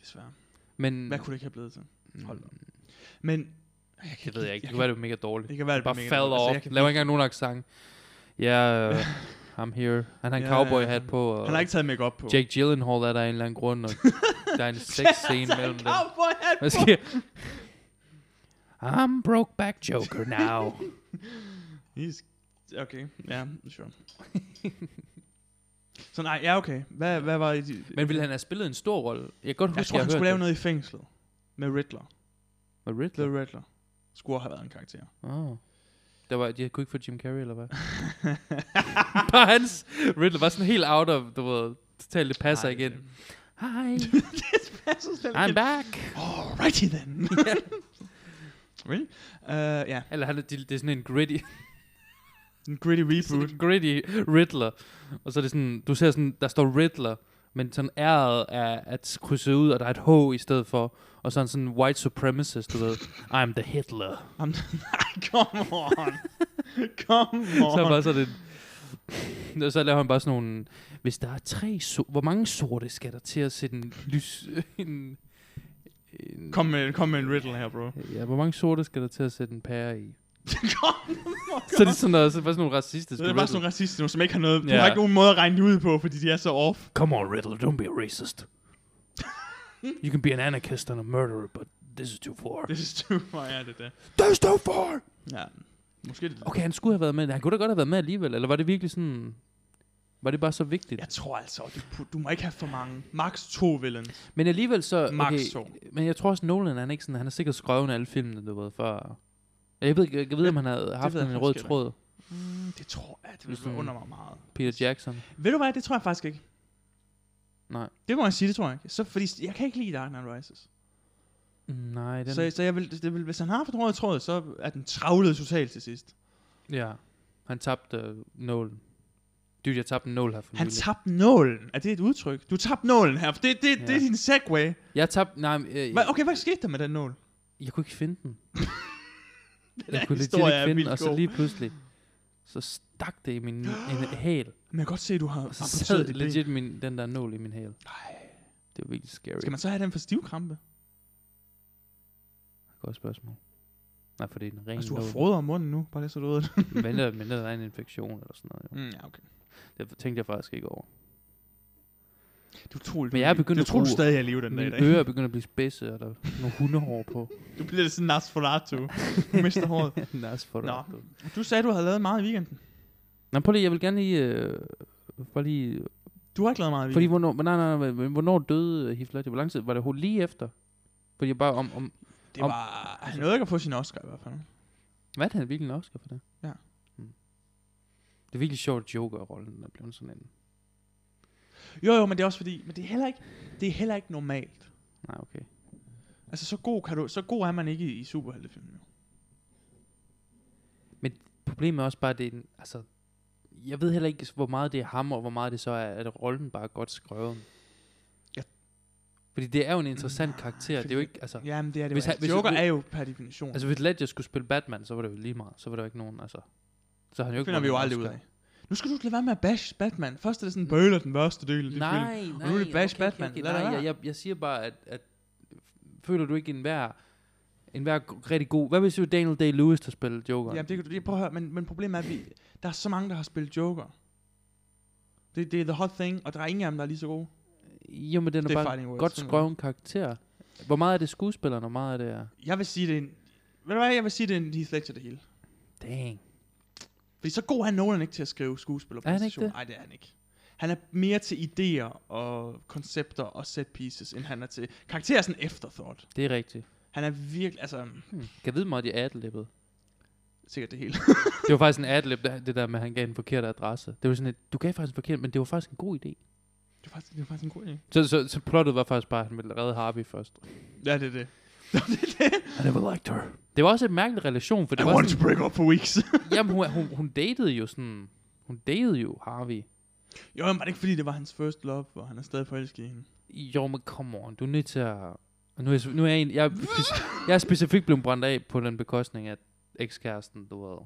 S2: desværre.
S1: Men,
S2: Hvad kunne det ikke have blevet til?
S1: Mm,
S2: Hold da op. Men, jeg
S1: Det ved jeg ikke. Det
S2: Jeg
S1: kan være, det er mega dårligt.
S2: det kan være, det
S1: Bare
S2: bliver mega
S1: falder off.
S2: dårligt. Altså, jeg kan
S1: Laver ikke engang nogen accent. Ja, yeah, I'm here. Han har en
S2: Ja,
S1: cowboy
S2: ja,
S1: hat
S2: ja.
S1: på. Og
S2: Han har ikke taget makeup på. altså
S1: Jake Gyllenhaal er der af en eller anden grund, og der er en sex scene mellem dem.
S2: Cowboy hat
S1: Hvad sker? I'm Brokeback Joker now.
S2: He's... Okay, ja, sure. så nej, ja, okay. Hvad, hvad var det?
S1: Men ville han have spillet en stor rolle? Jeg kan godt huske,
S2: Jeg tror,
S1: jeg
S2: han skulle lave noget i fængslet. Med Riddler.
S1: Med
S2: The
S1: Riddler?
S2: Riddler. Skulle have været en karakter.
S1: Oh. Der var, jeg kunne ikke få Jim Carrey, eller hvad? Bare hans Riddler var sådan helt out of, du ved, totalt det passer
S2: Nej,
S1: igen. Ah,
S2: det-
S1: Hi,
S2: det passer slet
S1: I'm
S2: ikke.
S1: back.
S2: Alrighty then. really? Uh, ja,
S1: Eller han, er- det, det er sådan en gritty,
S2: en gritty
S1: sådan
S2: reboot.
S1: en gritty Riddler. Og så er det sådan, du ser sådan, der står Riddler, men sådan æret er at krydse ud, og der er et H i stedet for. Og sådan sådan white supremacist, du ved. I'm the Hitler.
S2: Um, nej, come on. come on.
S1: så er bare sådan en... Og så laver han bare sådan nogle... Hvis der er tre... So- Hvor mange sorte skal der til at sætte en lys... En, en,
S2: Kom med, kom med en riddle her, bro.
S1: Ja, hvor mange sorte skal der til at sætte en pære i?
S2: Come on.
S1: Så er det sådan noget, så er det bare sådan nogle racistiske...
S2: Det er bare sådan nogle racister nu, som ikke har noget... Du
S1: Ja.
S2: har ikke nogen måde at regne det ud på, fordi de er så off.
S1: Come on, Riddler, don't be a racist. you can be an anarchist and a murderer, but this is too far.
S2: Det er too far, ja, det der.
S1: This is too far!
S2: Ja. Måske det
S1: Okay, han skulle have været med. Han kunne da godt have været med alligevel. Eller var det virkelig sådan... Var det bare så vigtigt?
S2: Jeg tror altså, du, pu- du må ikke have for mange. Max to villains.
S1: Men alligevel så...
S2: Max
S1: okay,
S2: to.
S1: Men jeg tror også, Nolan han er ikke sådan, han har sikkert skrevet alle filmene, du ved, før... Jeg ved, ikke- jeg ved om han havde haft
S2: ved jeg
S1: en
S2: faktisk
S1: rød
S2: heller ikke.
S1: tråd,
S2: Mm, det tror jeg, det vil
S1: Sådan-
S2: under mig meget.
S1: Peter Jackson.
S2: Ved du hvad, det tror jeg faktisk ikke.
S1: Nej.
S2: Det må jeg sige, det tror jeg ikke. Så, fordi jeg kan ikke lide Dark Knight Rises.
S1: Mm, Nej, den...
S2: Så, så jeg vil, det vil, hvis han har for rød tråd, så er den travlet totalt til sidst.
S1: Ja. Han tabte uh, Nolan. Dude, jeg tabte en nål her for
S2: Han
S1: nylig.
S2: tabte nålen. Er det et udtryk? Du tabte nålen her. for Det, det, det er
S1: Ja.
S2: din segway.
S1: Jeg tabte... Nej, men, øh,
S2: Hva, okay, hvad skete der med den nål?
S1: jeg kunne ikke finde den.
S2: der
S1: jeg kunne legit
S2: historie
S1: ikke
S2: er
S1: finde den,
S2: vildt
S1: og så
S2: god.
S1: lige pludselig... Så stak det i min en hæl.
S2: Men jeg kan godt se, at du har
S1: Og så
S2: amputeret
S1: sad
S2: dit ben.
S1: legit min, den der nål i min hæl.
S2: Ej.
S1: Det var virkelig scary.
S2: Skal man så have den for stivkrampe?
S1: Godt spørgsmål. Nej, for det er en ren
S2: Altså, du har
S1: nål.
S2: froder om munden nu, bare det så du ved det.
S1: Men der, men der er en infektion eller sådan noget. Jo.
S2: Mm, ja, okay.
S1: Det tænkte jeg faktisk ikke over.
S2: Det er utroligt.
S1: Men jeg er begyndt
S2: jeg
S1: at
S2: tror, du
S1: bruge-
S2: stadig er i live den dag i
S1: Mine
S2: dag.
S1: ører begynder at blive spidse, og der er nogle hundehår på.
S2: Du bliver lidt sådan Nosferatu. Du mister håret.
S1: Nas for
S2: Nå.
S1: dig.
S2: Du sagde, du havde lavet meget i weekenden.
S1: Nå, prøv lige, jeg vil gerne lige... Øh, bare lige
S2: Du har ikke lavet meget i
S1: fordi,
S2: weekenden.
S1: hvornår, nej, nej, nej, men hvornår døde øh, Heath Ledger? Hvor lang tid? Var det ho- lige efter? Fordi jeg bare om... om
S2: det
S1: om-
S2: var... Han nåede ikke at få sin Oscar i hvert fald.
S1: hvad er det, han virkelig en Oscar for det?
S2: Ja.
S1: Mm. Det er virkelig sjovt, at Joker-rollen er blevet sådan en...
S2: Jo, jo, men det er også fordi... Men det er heller ikke, det er heller ikke normalt.
S1: Nej, okay.
S2: Altså, så god, kan du, så god er man ikke i, i superheltefilmen. jo.
S1: Problemet er også bare, at det er en, altså, jeg ved heller ikke, hvor meget det er ham, og hvor meget det så er, at rollen bare er godt skrevet.
S2: Ja.
S1: Fordi det er jo en interessant
S2: Nej,
S1: karakter. Det er
S2: fordi-
S1: jo ikke, altså,
S2: Jamen, det er det
S1: Hvis
S2: hvis, jo.
S1: han- hvis-
S2: altså. Joker
S1: hvis-
S2: er jo per definition. Altså,
S1: Altså, hvis Ledger skulle spille Batman, så var det jo lige meget. Så var der jo ikke nogen, altså... Så har han jo
S2: det
S1: ikke
S2: finder vi jo
S1: vundet en
S2: aldrig ud
S1: Oscar. Mm.
S2: af. Nu skal du ikke lade være med at bash Batman. Først er det sådan, bøler den første del af det film.
S1: Nej, nej.
S2: Og nu er det Bash Batman. Lad det
S1: nej,
S2: være.
S1: jeg, jeg, jeg siger bare, at, at føler du ikke enhver, enhver g- rigtig god... Hvad hvis det var Daniel Day-Lewis, der spillede Joker?
S2: Jamen, det kan du lige prøve at høre, men, men problemet er, at vi, der er så mange, der har spillet Joker. Det, det er the hot thing, og der er ingen af dem, der er lige så gode.
S1: Jo, men den er
S2: Det er
S1: bare
S2: fighting words,
S1: godt
S2: sådan er
S1: skrevet karakter. Hvor meget er det skuespilleren, og hvor meget er det... er-
S2: Jeg vil sige, det er en... Ved du hvad, jeg vil sige, det er en Heath Ledger det hele.
S1: Dang.
S2: Fordi så god er Nolan ikke til at skrive skuespillerpræstationer.
S1: det?
S2: Nej, det er han ikke. Han er mere til idéer og koncepter og set pieces, end han er til... Karakter er sådan en efterthought.
S1: Det er rigtigt.
S2: Han er virkelig... Altså,
S1: Hmm. Kan jeg vide mig, at de adlibbede?
S2: sikkert det hele.
S1: Det var faktisk en adlib, det det der med, at han gav en forkert adresse. Det var sådan et, du gav faktisk en forkert, men det var faktisk en god idé.
S2: det, er faktisk, det er faktisk en god idé.
S1: Så, så, så plottet var faktisk bare, at han ville redde Harvey først.
S2: Ja, det er det. det er det.
S1: I never liked her. Det var også en mærkelig relation, for
S2: I
S1: det var
S2: want to
S1: sådan,
S2: break up for weeks.
S1: jamen, hun, hun, hun datede jo sådan, hun datede jo Harvey.
S2: jo, men var det ikke fordi, det var hans first love, og han er stadig forelsket i hende?
S1: Jo, men come on, du er nødt til at... og Nu er jeg, nu er jeg, en, jeg, er speci- jeg er specifikt blevet brændt af på den bekostning, at ekskæresten, du ved...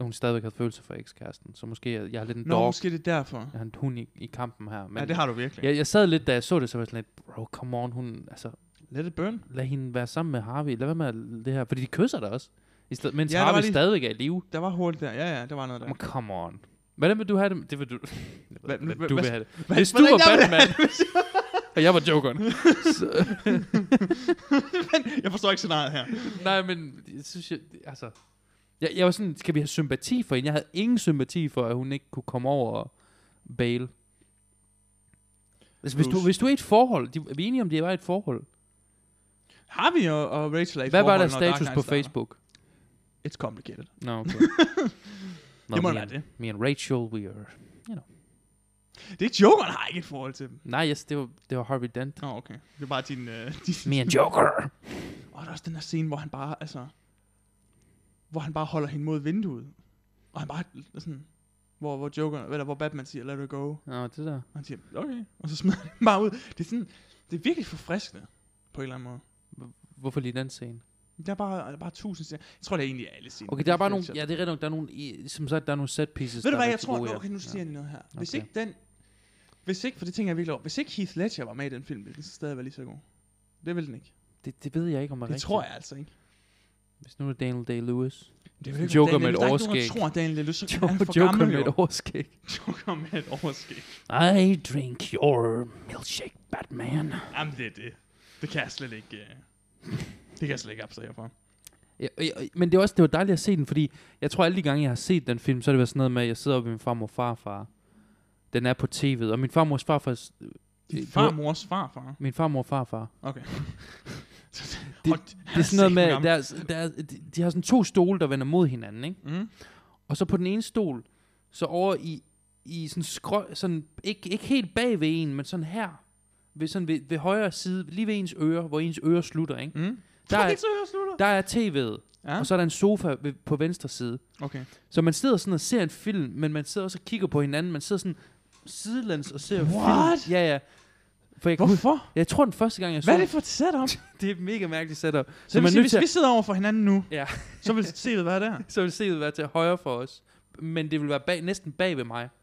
S1: Hun stadigvæk havde følelser for ekskæresten, så måske jeg, jeg er lidt en
S2: Nå,
S1: dog.
S2: måske det er derfor.
S1: Jeg er en hund i, i kampen her. Men
S2: ja, det har du virkelig.
S1: jeg, jeg sad lidt, da jeg så det, så var jeg sådan lidt, bro, come on, hun, altså,
S2: Let it burn.
S1: lad hende være sammen med Harvey, lad være med at- det her, fordi de kysser da også, i sted, mens
S2: Ja,
S1: ja,
S2: der var
S1: Harvey
S2: lige-
S1: stadigvæk er i live.
S2: Der var hurtigt der. Ja, ja, der var noget der.
S1: Men come on. Hvordan vil du have det? med- Det vil du... Jeg ved
S2: Hva-
S1: ikke, hvordan
S2: hva-
S1: du vil
S2: hva-
S1: have det.
S2: Hvad-
S1: Hvis du
S2: hvordan
S1: var
S2: jeg ville
S1: Batman,
S2: have det, hvis jeg-
S1: og jeg var jokeren. så,
S2: Men jeg forstår ikke scenariet her.
S1: nej, men jeg synes, jeg, altså... Jeg, jeg var sådan, skal vi have sympati for hende? Jeg havde ingen sympati for, at hun ikke kunne komme over og bail. Altså, hvis, du,
S2: Bruce.
S1: hvis du er i et forhold, de, er vi enige om, det var i et forhold?
S2: Har vi og, og Rachel er i
S1: Hvad var
S2: forhold,
S1: der
S2: når Dark
S1: status
S2: Knight
S1: på
S2: starter?
S1: Facebook?
S2: It's complicated.
S1: Nå, okay. Nå,
S2: Det må
S1: me
S2: være
S1: and-
S2: det.
S1: Me and Rachel, we are...
S2: Det er ikke Jokeren har ikke et forhold til dem.
S1: Nej, yes, det var, det var Harvey Dent.
S2: Nå, oh, okay. Det er bare din... Øh, din...
S1: Me and Joker.
S2: Og der er også den der scene, hvor han bare, altså... Hvor han bare holder hende mod vinduet. Og han bare sådan... Hvor, hvor Joker, eller hvor Batman siger, let her go.
S1: Nå, det der.
S2: Og han siger, okay. Og så smider han hende bare ud. Det er sådan... Det er virkelig forfriskende. På en eller anden måde.
S1: Hvorfor lige den scene?
S2: Der er bare, der er bare tusind scener. Jeg tror, det er egentlig alle scener.
S1: Okay, der er bare nogle... Ja, det er rigtigt nok, der er nogle... i- Som sagt, der er nogle set pieces,
S2: Ved du
S1: der er
S2: hvad, jeg
S1: rigtig
S2: tror,
S1: gode
S2: nå,
S1: her.
S2: okay, nu siger jeg lige noget her. Hvis
S1: Okay.
S2: ikke den, hvis ikke, for det tænker jeg virkelig over, hvis ikke Heath Ledger var med i den film, ville den stadig være lige så god. Det vil den ikke.
S1: Det, det ved jeg ikke, om er
S2: Det
S1: rigtigt.
S2: tror jeg altså ikke.
S1: Hvis nu er Daniel Day-Lewis.
S2: Det er jo ikke
S1: Joker
S2: Daniel
S1: med
S2: Lewis.
S1: et
S2: Der er ikke nogen,
S1: overskæg.
S2: der tror, at Daniel Lewis, så er han er
S1: Joker,
S2: for
S1: Joker
S2: gammel
S1: med
S2: jo.
S1: et overskæg.
S2: Joker med et overskæg.
S1: I drink your milkshake, Batman.
S2: Jamen, det er det. Det kan jeg slet ikke... Uh... Det kan jeg slet ikke abstrahere fra.
S1: Ja, og- og- men det er også det var dejligt at se den, fordi jeg tror alle de gange, jeg har set den film, så har det været sådan noget med, at jeg sidder oppe med min farmor og farfar. Den er på tv'et, og min farmors farfar...
S2: Din
S1: du-
S2: farmors farfar.
S1: Min farmor og farfar.
S2: Okay. det,
S1: Det er sådan noget med, deres, deres, de, de har sådan to stole, der vender mod hinanden, ikke?
S2: Mm.
S1: Og så på den ene stol, så over i, i sådan skrø, sådan, ikke, ikke helt bag ved en, men sådan her, ved, sådan ved, ved højre side, lige ved ens øre, hvor ens øre slutter, ikke?
S2: Mm.
S1: Der er-
S2: ikke så jeg slutter.
S1: Der er tv'et,
S2: Ja,
S1: ja. og så er der en sofa ved, på venstre side.
S2: okay.
S1: Så man sidder sådan og ser en film, men man sidder også og kigger på hinanden, man sidder sådan sidelæns og ser
S2: What?
S1: film. Ja, ja. For jeg, kan huske-
S2: Hvorfor?
S1: jeg tror den første gang, jeg så
S2: Hvad er det for et setup?
S1: den- det er et mega mærkeligt setup.
S2: Så
S1: Så,
S2: man
S1: man er
S2: sige,
S1: nødt
S2: hvis
S1: til,
S2: vi
S1: at-
S2: sidder over for hinanden nu,
S1: Ja.
S2: så vil set være der.
S1: så vil setet være til højre for os. Men det vil være bag, næsten bag ved mig. På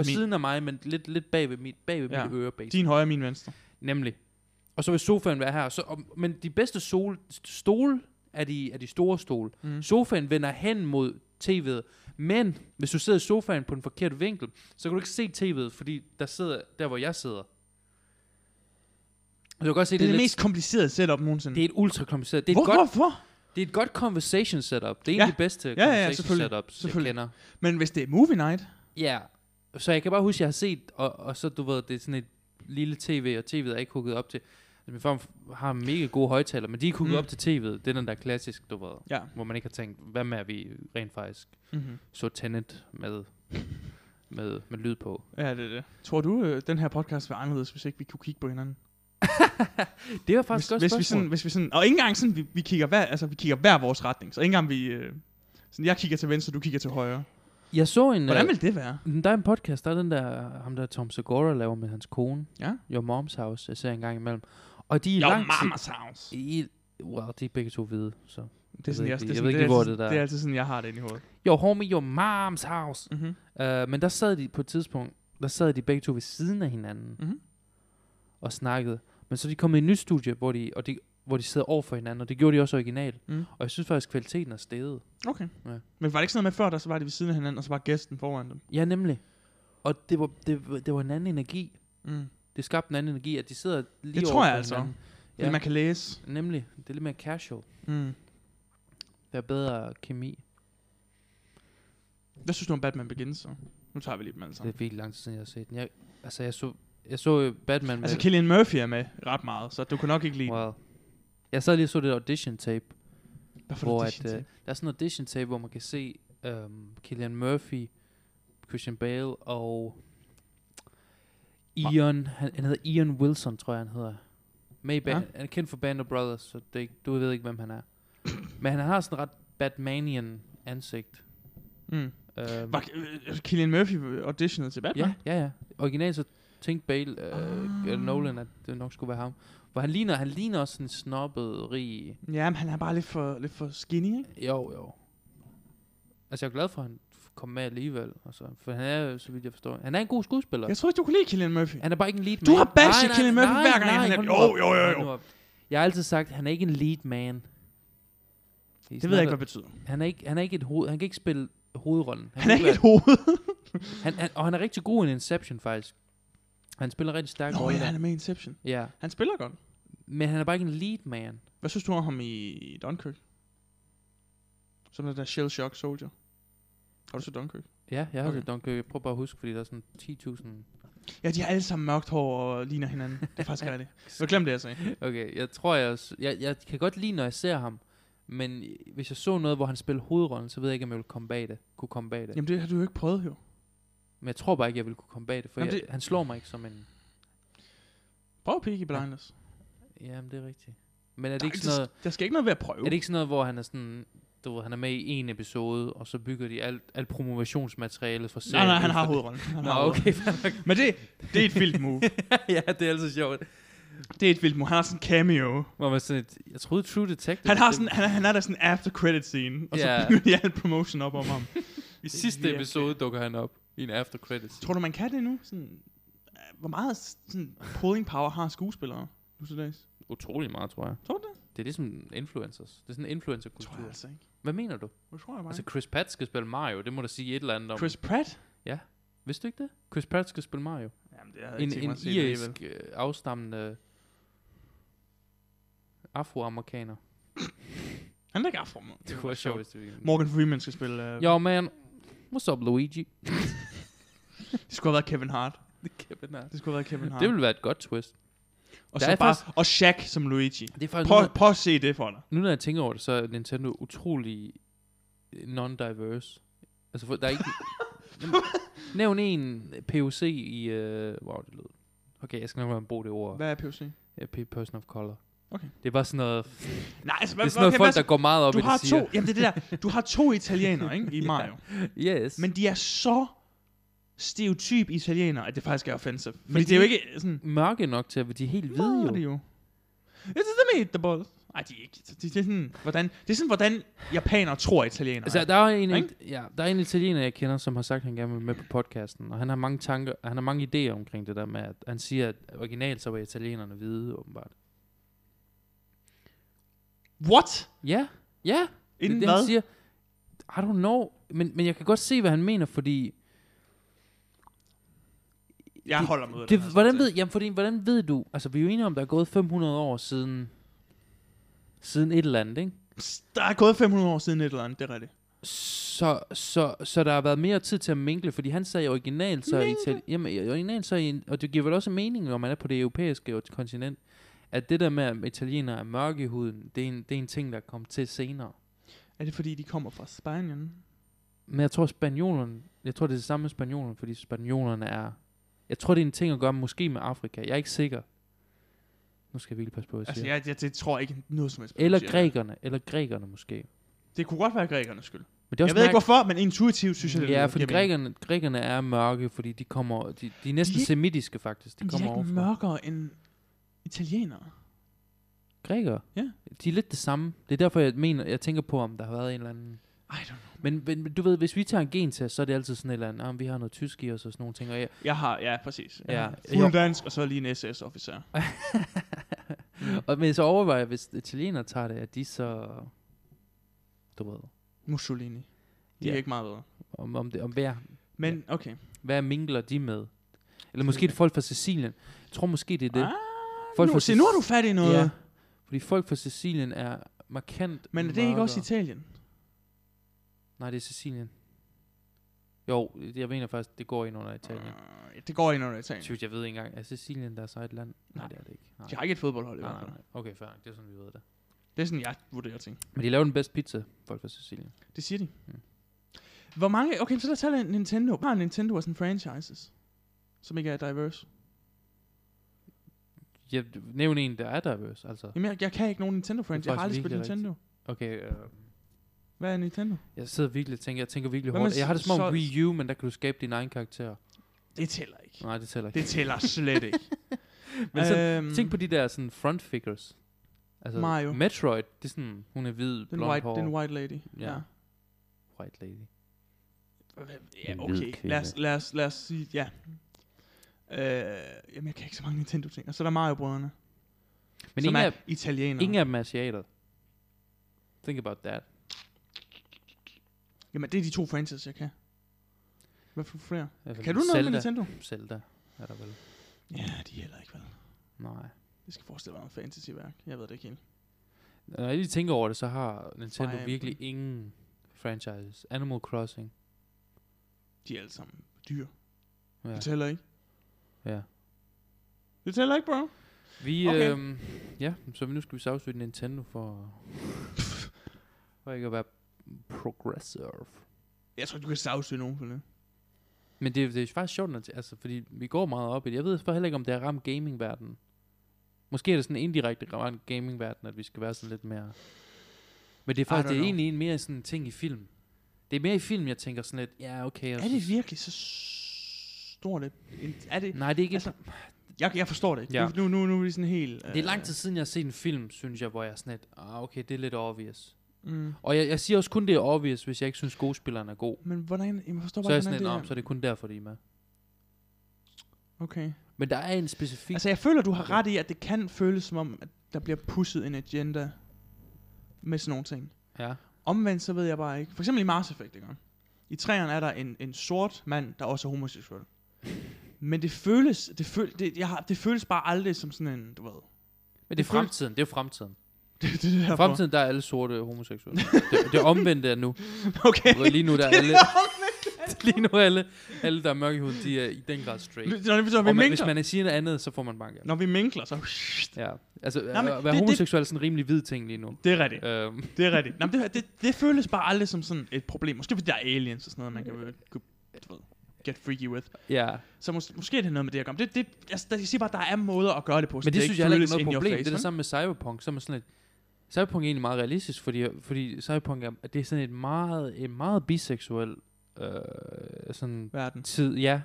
S2: Altså min-
S1: siden af mig, men lidt, lidt bag ved mit, bag ved
S2: Ja.
S1: ja. mit øre. Bag.
S2: Din højre, min venstre.
S1: Nemlig. Og så vil sofaen være her. Så, og, men de bedste sol, stole er de, er de store stole.
S2: Mm.
S1: Mm. Sofaen vender hen mod tv'et. Men hvis du sidder i sofaen på den forkerte vinkel, så kan du ikke se tv'et, fordi der sidder der, hvor jeg sidder. Og Du kan godt se,
S2: Det
S1: det,
S2: er det,
S1: lidt,
S2: mest komplicerede setup nogensinde.
S1: det er et ultra kompliceret. Det er,
S2: Hvor,
S1: et godt,
S2: Hvorfor?
S1: det er et godt conversation setup. Det er en
S2: Ja.
S1: af de bedste
S2: ja, ja,
S1: conversation
S2: selvfølgelig.
S1: setups,
S2: Selvfølgelig.
S1: jeg kender.
S2: Men hvis det er movie night,
S1: Ja, så jeg kan bare huske, at jeg har set, og, og så du ved, det er sådan et lille tv, og tv'et er ikke hugget op til. Altså, min far har mega gode højtaler, men de er ikke hugget
S2: Mm.
S1: mm. op til tv'et. Det er den der klassisk, du ved,
S2: ja.
S1: hvor man ikke har tænkt, hvad med at vi rent faktisk
S2: Mm-hmm.
S1: så Tenet med, med, med lyd på.
S2: ja, det er det. Tror du, øh, den her podcast var anderledes, hvis ikke vi kunne kigge på hinanden?
S1: Det var faktisk
S2: Hvis,
S1: godt
S2: hvis, vi
S1: spørgsmål.
S2: sådan, hvis vi sådan, og ikke engang sådan, vi, vi, kigger hver, altså, vi kigger hver vores retning. Så ikke engang vi... Øh, sådan, jeg kigger til venstre, du kigger til højre.
S1: Jeg så en...
S2: Hvordan
S1: øh,
S2: vil det være?
S1: Der er en podcast, der er den der, ham der Tom Segura laver med hans kone.
S2: Ja.
S1: Your Mom's House, jeg ser en gang imellem. Og de er
S2: Yo,
S1: lang tid...
S2: mama's house.
S1: I, well, de er begge to hvide, så...
S2: Det er sådan,
S1: ved ikke-
S2: jeg, det er
S1: jeg
S2: sådan-
S1: ved ikke
S2: det er
S1: lige, hvor
S2: altid-
S1: det der-
S2: Det er altid sådan, jeg har det inde i hovedet.
S1: Yo, homie, your mom's house.
S2: Mm-hmm.
S1: Uh, men der sad de på et tidspunkt, der sad de begge to ved siden af hinanden
S2: Mhm.
S1: og snakkede. Men så er de kommet i et nyt studie, hvor de, og de, hvor de sidder over for hinanden, og det gjorde de også originalt.
S2: Mm.
S1: Og jeg synes faktisk, kvaliteten er steget.
S2: Okay.
S1: Mhm. Ja.
S2: Men var det ikke sådan noget med før, der så var det ved siden af hinanden, og så var gæsten foran dem?
S1: Ja, nemlig. Og det var, det, var- det var en anden energi.
S2: Mm.
S1: Det skabte en anden energi, at de sidder lige
S2: Det
S1: over
S2: tror jeg
S1: for
S2: altså.
S1: hinanden.
S2: Ja. man kan læse.
S1: Nemlig, det er lidt mere casual.
S2: Mm.
S1: Der er bedre kemi.
S2: Hvad synes du om Batman Begins så? Nu tager vi lige dem alle
S1: Det er
S2: sammen.
S1: virkelig lang tid siden, jeg har set den. Jeg, altså, jeg så, jeg så jo Batman
S2: Altså,
S1: med...
S2: Killian Murphy er med ret meget, så du kan nok ikke lide wow.
S1: Well, jeg sad lige og så det audition tape,
S2: Hvorfor
S1: hvor
S2: er
S1: at,
S2: det
S1: øh,
S2: at, uh,
S1: der er sådan en audition tape, hvor man kan se um, Killian Murphy, Christian Bale og Ian, han, han hedder Ian Wilson, tror jeg han hedder. Med i ba-
S2: Ja.
S1: Han er kendt for Band of Brothers, så det, er ikke- du ved ikke, hvem han er. Men han har sådan ret Batmanian ansigt.
S2: mm.
S1: Um,
S2: Var øh, Killian Murphy auditionet til Batman?
S1: Ja, ja, ja. Originalt så tænkte Bale, øh,
S2: Ah.
S1: ah. Nolan, at det nok skulle være ham. Hvor han ligner, han ligner også sådan en snobbet, rig...
S2: Ja, men han er bare lidt for, lidt for skinny, ikke?
S1: Jo, jo. Altså, jeg er glad for, at han f- kom med alligevel. Altså, for han er, jo, så vidt jeg forstår, han er en god skuespiller.
S2: Jeg tror ikke, du kunne lide Killian Murphy.
S1: Han er bare ikke en lead man.
S2: Du har bashed
S1: Nej, nej,
S2: Cillian Murphy
S1: nej,
S2: hver gang,
S1: nej,
S2: han er-
S1: hold nu
S2: Jo,
S1: op,
S2: jo, jo,
S1: hold
S2: jo.
S1: nu op. Jeg har altid sagt, at han er ikke en lead man. He's
S2: Det ved jeg ikke,
S1: not
S2: hvad betyder.
S1: a- han er ikke, han er ikke et hoved, han kan ikke spille hovedrollen.
S2: Han er
S1: kan
S2: ikke et hoved.
S1: være- han, han, og han er rigtig god i Inception, faktisk. Han spiller rigtig stærkt.
S2: Nå ja, han er med i Inception.
S1: ja.
S2: Han spiller godt.
S1: Men han er bare ikke en lead man.
S2: Hvad synes du om ham i Dunkirk? Som den der Shell Shock Soldier. Har du set Dunkirk?
S1: Ja, jeg har
S2: Okay.
S1: okay. Dunkirk. Jeg prøver bare at huske, fordi der er sådan 10.000...
S2: Ja, de har alle sammen mørkt hår og ligner hinanden. Det er faktisk rigtigt. Jeg glemte det, jeg sagde.
S1: Okay, jeg tror, jeg, s- jeg... Jeg kan godt lide, når jeg ser ham. Men hvis jeg så noget, hvor han spillede hovedrollen, så ved jeg ikke, om jeg ville komme bag det. Kunne komme bag det.
S2: Jamen, det har du jo ikke prøvet, jo.
S1: Men jeg tror bare ikke, jeg ville kunne komme bag det, for
S2: Jamen,
S1: Jamen, jeg,
S2: det-
S1: det... han slår mig ikke som en...
S2: Prøv Peaky Blinders.
S1: Jamen, det er rigtigt. Men er det
S2: Der,
S1: ikke sådan noget...
S2: der skal ikke noget ved at prøve.
S1: Er det ikke sådan noget, hvor han er sådan... Du ved, han er med i en episode, og så bygger de alt, alt promovationsmaterialet fra serien.
S2: nej, nej, han
S1: ud
S2: har
S1: fra-
S2: hovedrollen. Han
S1: Nå,
S2: har hovedrollen.
S1: okay, fair nok.
S2: Men det, det er et vildt move.
S1: ja, det er altid sjovt.
S2: Det er et vildt move. Han har sådan en cameo.
S1: Hvor man sådan, et- jeg troede True Detective...
S2: Han har
S1: det-
S2: sådan, han, han er der sådan en after credit scene, og så
S1: Ja.
S2: bygger de al promotion op om ham.
S1: I
S2: Det er
S1: sidste
S2: virkelig-
S1: episode dukker han op i en after credits.
S2: Tror du, man kan det nu? Sådan, øh, hvor meget sådan, pulling power har skuespillere nu til dags?
S1: Utrolig meget, tror jeg.
S2: Tror du det?
S1: Det er ligesom influencers. Det er sådan en
S2: Tror jeg
S1: influencer-kultur.
S2: altså ikke.
S1: Hvad mener du?
S2: Det tror jeg bare
S1: Altså,
S2: ikke.
S1: Chris Pratt skal spille Mario. Det må da sige et eller andet om.
S2: Chris Pratt?
S1: Vidste du ikke det? Chris Pratt skal spille Mario.
S2: Jamen, det har
S1: En, en irisk øh, afstammende afroamerikaner.
S2: Han er ikke afro, man.
S1: Det var sjovt, hvis det
S2: Morgan Freeman skal spille... Uh,
S1: Yo, man. What's up, Luigi?
S2: det skulle have været Kevin Hart.
S1: det kan man
S2: Det skulle have været Kevin Hart.
S1: Det ville være et godt twist.
S2: og,
S1: der
S2: så
S1: er
S2: bare, og Shaq som Luigi.
S1: Det er faktisk...
S2: Prøv,
S1: nu,
S2: prøv at se det for dig.
S1: nu, når jeg tænker over det, så er Nintendo utrolig non-diverse. Altså, for, der er ikke... Jamen, Nævn en POC i... Uh, wow, det lød... Okay, jeg skal nok bare bruge det ord.
S2: Hvad er POC?
S1: Ja, p- person of color.
S2: Okay.
S1: Det er bare sådan noget... Det
S2: Nej, altså,
S1: er sådan noget folk,
S2: hvad
S1: der går meget op
S2: så-
S1: i,
S2: du har
S1: det
S2: to,
S1: siger.
S2: jamen det er det der, du har to italienere, ikke, i
S1: Ja.
S2: Mario.
S1: Yes.
S2: Men de er så stereotyp italienere, at det faktisk er offensive.
S1: de
S2: Fordi det er jo
S1: er
S2: ikke øh, sådan...
S1: mørke nok til, at de er helt hvide
S2: Nå,
S1: jo.
S2: det er jo. It's the meatballs. Ej, de er ikke. De, de, det, er sådan, hvordan, det er sådan, hvordan japanere tror italienere.
S1: Altså,
S2: Altså,
S1: der er, en,
S2: Ikke?
S1: ja, der er en italiener, jeg kender, som har sagt, at han gerne vil med på podcasten. Og han har mange tanker, han har mange idéer omkring det der med, at han siger, at originalt så var italienerne hvide, åbenbart.
S2: What?
S1: Ja, ja. Det er
S2: Inden
S1: det,
S2: hvad?
S1: han siger. I don't know. Men, men jeg kan godt se, hvad han mener, fordi...
S2: jeg holder med
S1: Det, hvordan, ved, jamen, fordi, hvordan ved du... Altså, vi er jo enige om, der er gået 500 år siden... Siden et eller andet, ikke?
S2: Der er gået 500 år siden et eller andet, det er rigtigt.
S1: Så, så, så der har været mere tid til at mingle, fordi han sagde originalt så i
S2: Mingle?
S1: Italien, jamen, i- originalt så i, og det giver vel også mening, når man er på det europæiske og- kontinent, at det der med, at italienere er mørke i huden, det er en, det er en ting, der kommer til senere.
S2: Er det fordi, de kommer fra Spanien?
S1: Men jeg tror, spanjolerne, jeg tror, det er det samme med spanjolerne, fordi spanjolerne er, jeg tror, det er en ting at gøre, måske med Afrika, jeg er ikke sikker. Nu skal jeg virkelig passe på, hvad jeg
S2: Altså,
S1: siger.
S2: jeg, jeg det tror ikke noget som helst.
S1: Eller
S2: siger.
S1: grækerne, eller grækerne måske. Men
S2: Det kunne godt være grækernes skyld.
S1: det er
S2: Jeg ved ikke hvorfor, men intuitivt synes jeg, det
S1: Ja,
S2: lyder-
S1: fordi
S2: jeg mener,
S1: grækerne, grækerne er mørke, fordi de kommer, de, de er næsten
S2: De er ikke-
S1: semitiske faktisk, de
S2: De
S1: kommer
S2: er ikke
S1: overfra.
S2: mørkere end italienere.
S1: Grækere?
S2: Ja.
S1: De er lidt det samme. Det er derfor, jeg mener, jeg tænker på, om der har været en eller anden...
S2: I don't know.
S1: Men, men men du ved, hvis vi tager en gentest, så er det altid sådan et eller andet, ah, men vi har noget tysk i os og sådan nogle ting. Og jeg,
S2: Jeg har, ja, præcis. Jeg
S1: Ja.
S2: har
S1: Jo.
S2: Fuld dansk, og så lige en SS-officer.
S1: og, men så overvejer jeg, hvis italienere tager det, at de så... Du ved,
S2: Mussolini. De er
S1: Ja.
S2: ikke meget bedre.
S1: om, om, det, om hvad,
S2: Men okay.
S1: hvad mingler de med? Eller måske det er folk fra Sicilien. Jeg tror måske det er det.
S2: Ah,
S1: Folk
S2: nu,
S1: fra
S2: se, nu er du fat i noget.
S1: Ja. Fordi folk fra Sicilien er markant
S2: Men er det ikke også
S1: mørkere.
S2: Italien?
S1: Nej, det er Sicilien. Jo, jeg mener faktisk, det går ind under Italien.
S2: Øh, det går ind under Italien.
S1: Tyst, jeg ved ikke engang. Er Sicilien deres eget land? Nej,
S2: Nej.
S1: det er det ikke. Nej.
S2: De har ikke et fodboldhold i
S1: nej,
S2: hvert
S1: nej,
S2: fald.
S1: nej. Okay, fair. nok. Det er sådan, vi ved det.
S2: Det er sådan, jeg vurderer ting.
S1: Men de laver den bedste pizza, folk fra Sicilien.
S2: Det siger de.
S1: Mm.
S2: Hvor mange... Okay, så lad os tage Nintendo. Hvor har Nintendo sådan franchises, som ikke er diverse?
S1: Jeg nævn en, der er diverse, altså.
S2: Jamen, jeg, jeg kan ikke nogen Nintendo franchise. Jeg har aldrig
S1: faktisk
S2: spillet
S1: virkelig
S2: Nintendo.
S1: Okay, øh,
S2: Hvad er Nintendo?
S1: jeg sidder virkelig og tænker, jeg tænker virkelig
S2: Hvad
S1: hårdt.
S2: med
S1: Jeg har det som om
S2: så-
S1: Wii U, men der kan du skabe dine egne karakterer.
S2: Det tæller ikke.
S1: Nej, det tæller ikke.
S2: Det tæller slet ikke.
S1: Men så,
S2: øhm,
S1: Tænk på de der sådan front figures. Altså,
S2: Mario.
S1: Metroid, det er sådan, hun er hvid,
S2: den
S1: blond
S2: white,
S1: hår,
S2: den white lady.
S1: Ja. white lady.
S2: Ja,
S3: En hvid
S2: okay.
S3: kvinde.
S2: Lad os, lad, os, lad os sige, ja. Øh, jamen, jeg kan ikke så mange Nintendo-ting. Og så er der Mario-brødrene,
S1: Men
S2: som
S1: ingen
S2: er
S1: af,
S2: italienere.
S1: ingen af dem er asiater. Think about that.
S2: Jamen, det er de to franchises, jeg kan. Hvad for flere?
S1: Altså,
S2: Kan du noget
S1: Zelda,
S2: med Nintendo?
S1: Zelda er der vel.
S2: Ja, de er heller ikke, vel?
S1: Nej.
S2: Det skal forestille mig noget fantasy-værk. Jeg ved det ikke helt.
S1: Når jeg lige tænker over det, så har Nintendo
S2: Fire Emblem.
S1: virkelig ingen franchises. Animal Crossing.
S2: De er alle sammen dyr.
S1: Ja.
S2: Det tæller ikke.
S1: ja.
S2: Det tæller ikke, bro.
S1: Vi,
S2: Okay.
S1: okay. øhm, ja, så nu skal vi sagsøge Nintendo for, for ikke at være progressive.
S2: Jeg tror, du kan sagsøge nogen for det.
S1: Men det, det er faktisk sjovt, at- altså, fordi vi går meget op i det. Jeg ved for heller ikke, om det har ramt gamingverdenen. Måske er det sådan indirekte ramt gamingverdenen, at vi skal være sådan lidt mere... Men det er
S2: I
S1: faktisk
S2: don't
S1: det er
S2: know.
S1: egentlig en mere sådan en ting i film. Det er mere i film, jeg tænker sådan lidt, ja, okay. jeg
S2: Er
S1: synes-
S2: det virkelig så s- stort? et- en- Er det...
S1: Nej, det er ikke...
S2: Altså,
S1: Altså,
S2: Jeg, jeg forstår det ikke.
S1: Ja.
S2: Ja. Nu, nu, nu er vi sådan helt... øh,
S1: det er lang tid siden, jeg har set en film, synes jeg, hvor jeg er sådan lidt, ah, okay, det er lidt obvious.
S2: Mm.
S1: Og jeg, jeg siger også kun, det er obvious, hvis jeg ikke synes, skuespilleren er god.
S2: Men hvordan... Jeg forstår
S1: Så er
S2: bare,
S1: jeg
S2: ikke,
S1: sådan lidt,
S2: hvordan
S1: "Nå,
S2: det
S1: så er det kun derfor, de er med.
S2: er. Okay.
S1: Men der er en specifik...
S2: Altså, jeg føler, du har ret i, at det kan føles som om, at der bliver pusset en agenda med sådan nogle ting.
S1: ja.
S2: Omvendt så ved jeg bare ikke. For eksempel i Mars Effect, ikke? I træerne er der en, en sort mand, der også er homoseksuel. Men det føles, det, føl, det, jeg har, det føles bare aldrig som sådan en, du ved.
S1: Men det er
S2: Det føles-
S1: fremtiden, det er fremtiden.
S2: Det, det, det er
S1: I
S2: derfor.
S1: fremtiden, der er alle sorte homoseksuelle. det, det omvendte er nu.
S2: Okay.
S1: Hvor Lige nu, der er alle, lige nu er alle, alle, der er mørke i huden, de er i den grad straight.
S2: Når vi, så,
S1: Og
S2: vi
S1: man, hvis
S2: minkler,
S1: man er siger noget andet, så får man bank. Ja.
S2: når vi minkler, så...
S1: ja. Altså,
S2: Nej, men
S1: at være
S2: det- det-
S1: homoseksuel er sådan en rimelig hvid ting lige nu.
S2: Det er rigtigt.
S1: Øhm,
S2: Det er rigtigt. Nå, men det, det, det, føles bare aldrig som sådan et problem. Måske fordi der er aliens og sådan noget, man kan, kan du ved, get freaky with.
S1: ja.
S2: Så mås- måske er det noget med det at gøre. Men det, det, altså, jeg siger bare, at der er måder at gøre det på. så
S1: Men det, det synes jeg heller ikke er
S2: føles in
S1: noget
S2: your
S1: problem.
S2: face,
S1: det er det
S2: vel?
S1: samme med Cyberpunk, som er sådan et... Cyberpunk er egentlig meget realistisk, fordi, fordi Cyberpunk er, det er sådan et meget, en meget biseksuel øh, sådan
S2: Verden.
S1: tid, ja. Men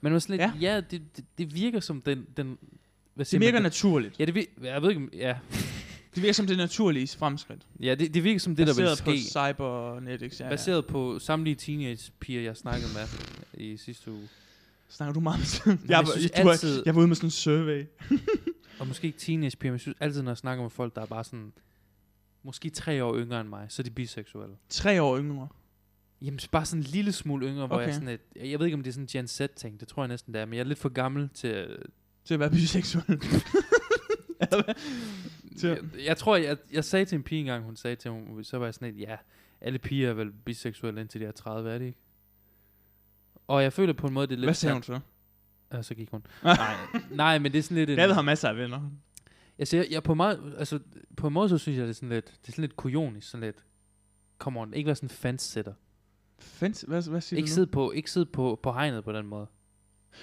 S1: man er sådan lidt, ja, ja det, det, det, virker som den... den hvad
S2: Det
S1: siger man,
S2: virker
S1: den-
S2: naturligt.
S1: Ja, det vir- jeg ved ikke, om- ja.
S2: Det virker som det naturlige fremskridt.
S1: Ja, det, det virker som det, der vil
S2: baseret
S1: ske.
S2: på cybernetics. Ja, ja.
S1: Baseret på samtlige teenagepiger, jeg snakkede med i sidste uge.
S2: Snakker du meget med sådan?
S1: jeg
S2: jeg, var,
S1: synes
S2: jeg, du var-
S1: altid-
S2: jeg var ude med sådan en survey.
S1: Og måske ikke teenagepiger, men jeg synes altid, når jeg snakker med folk, der er bare sådan... Måske tre år yngre end mig, så er de biseksuelle.
S2: Tre år yngre.
S1: Jamen, så bare sådan en lille smule yngre, hvor okay.
S2: Okay.
S1: jeg sådan et, Jeg jeg ved ikke, om det er sådan en Gen Z-ting. Det tror jeg næsten, det er. Men jeg er lidt for gammel til... øh,
S2: Til at være biseksuel. Til-
S1: Jeg, jeg tror, jeg, jeg sagde til en pige engang, hun sagde til mig, så var jeg sådan et, ja, alle piger er vel biseksuelle indtil de er 30, er de ikke? Og jeg føler på en måde, det er lidt...
S2: Hvad sagde hun så?
S1: Ja, så gik hun. Nej, nej, men det er sådan lidt... En,
S2: David har masser af venner.
S1: Altså, jeg, jeg på, meget, altså, på en måde, så synes jeg, det er sådan lidt, det er sådan lidt kujonisk, sådan lidt, come on, ikke være sådan en fansætter.
S2: Fans, hvad, hvad siger
S1: Ikke
S2: du nu?
S1: sidde på, ikke sidde på, på hegnet på den måde.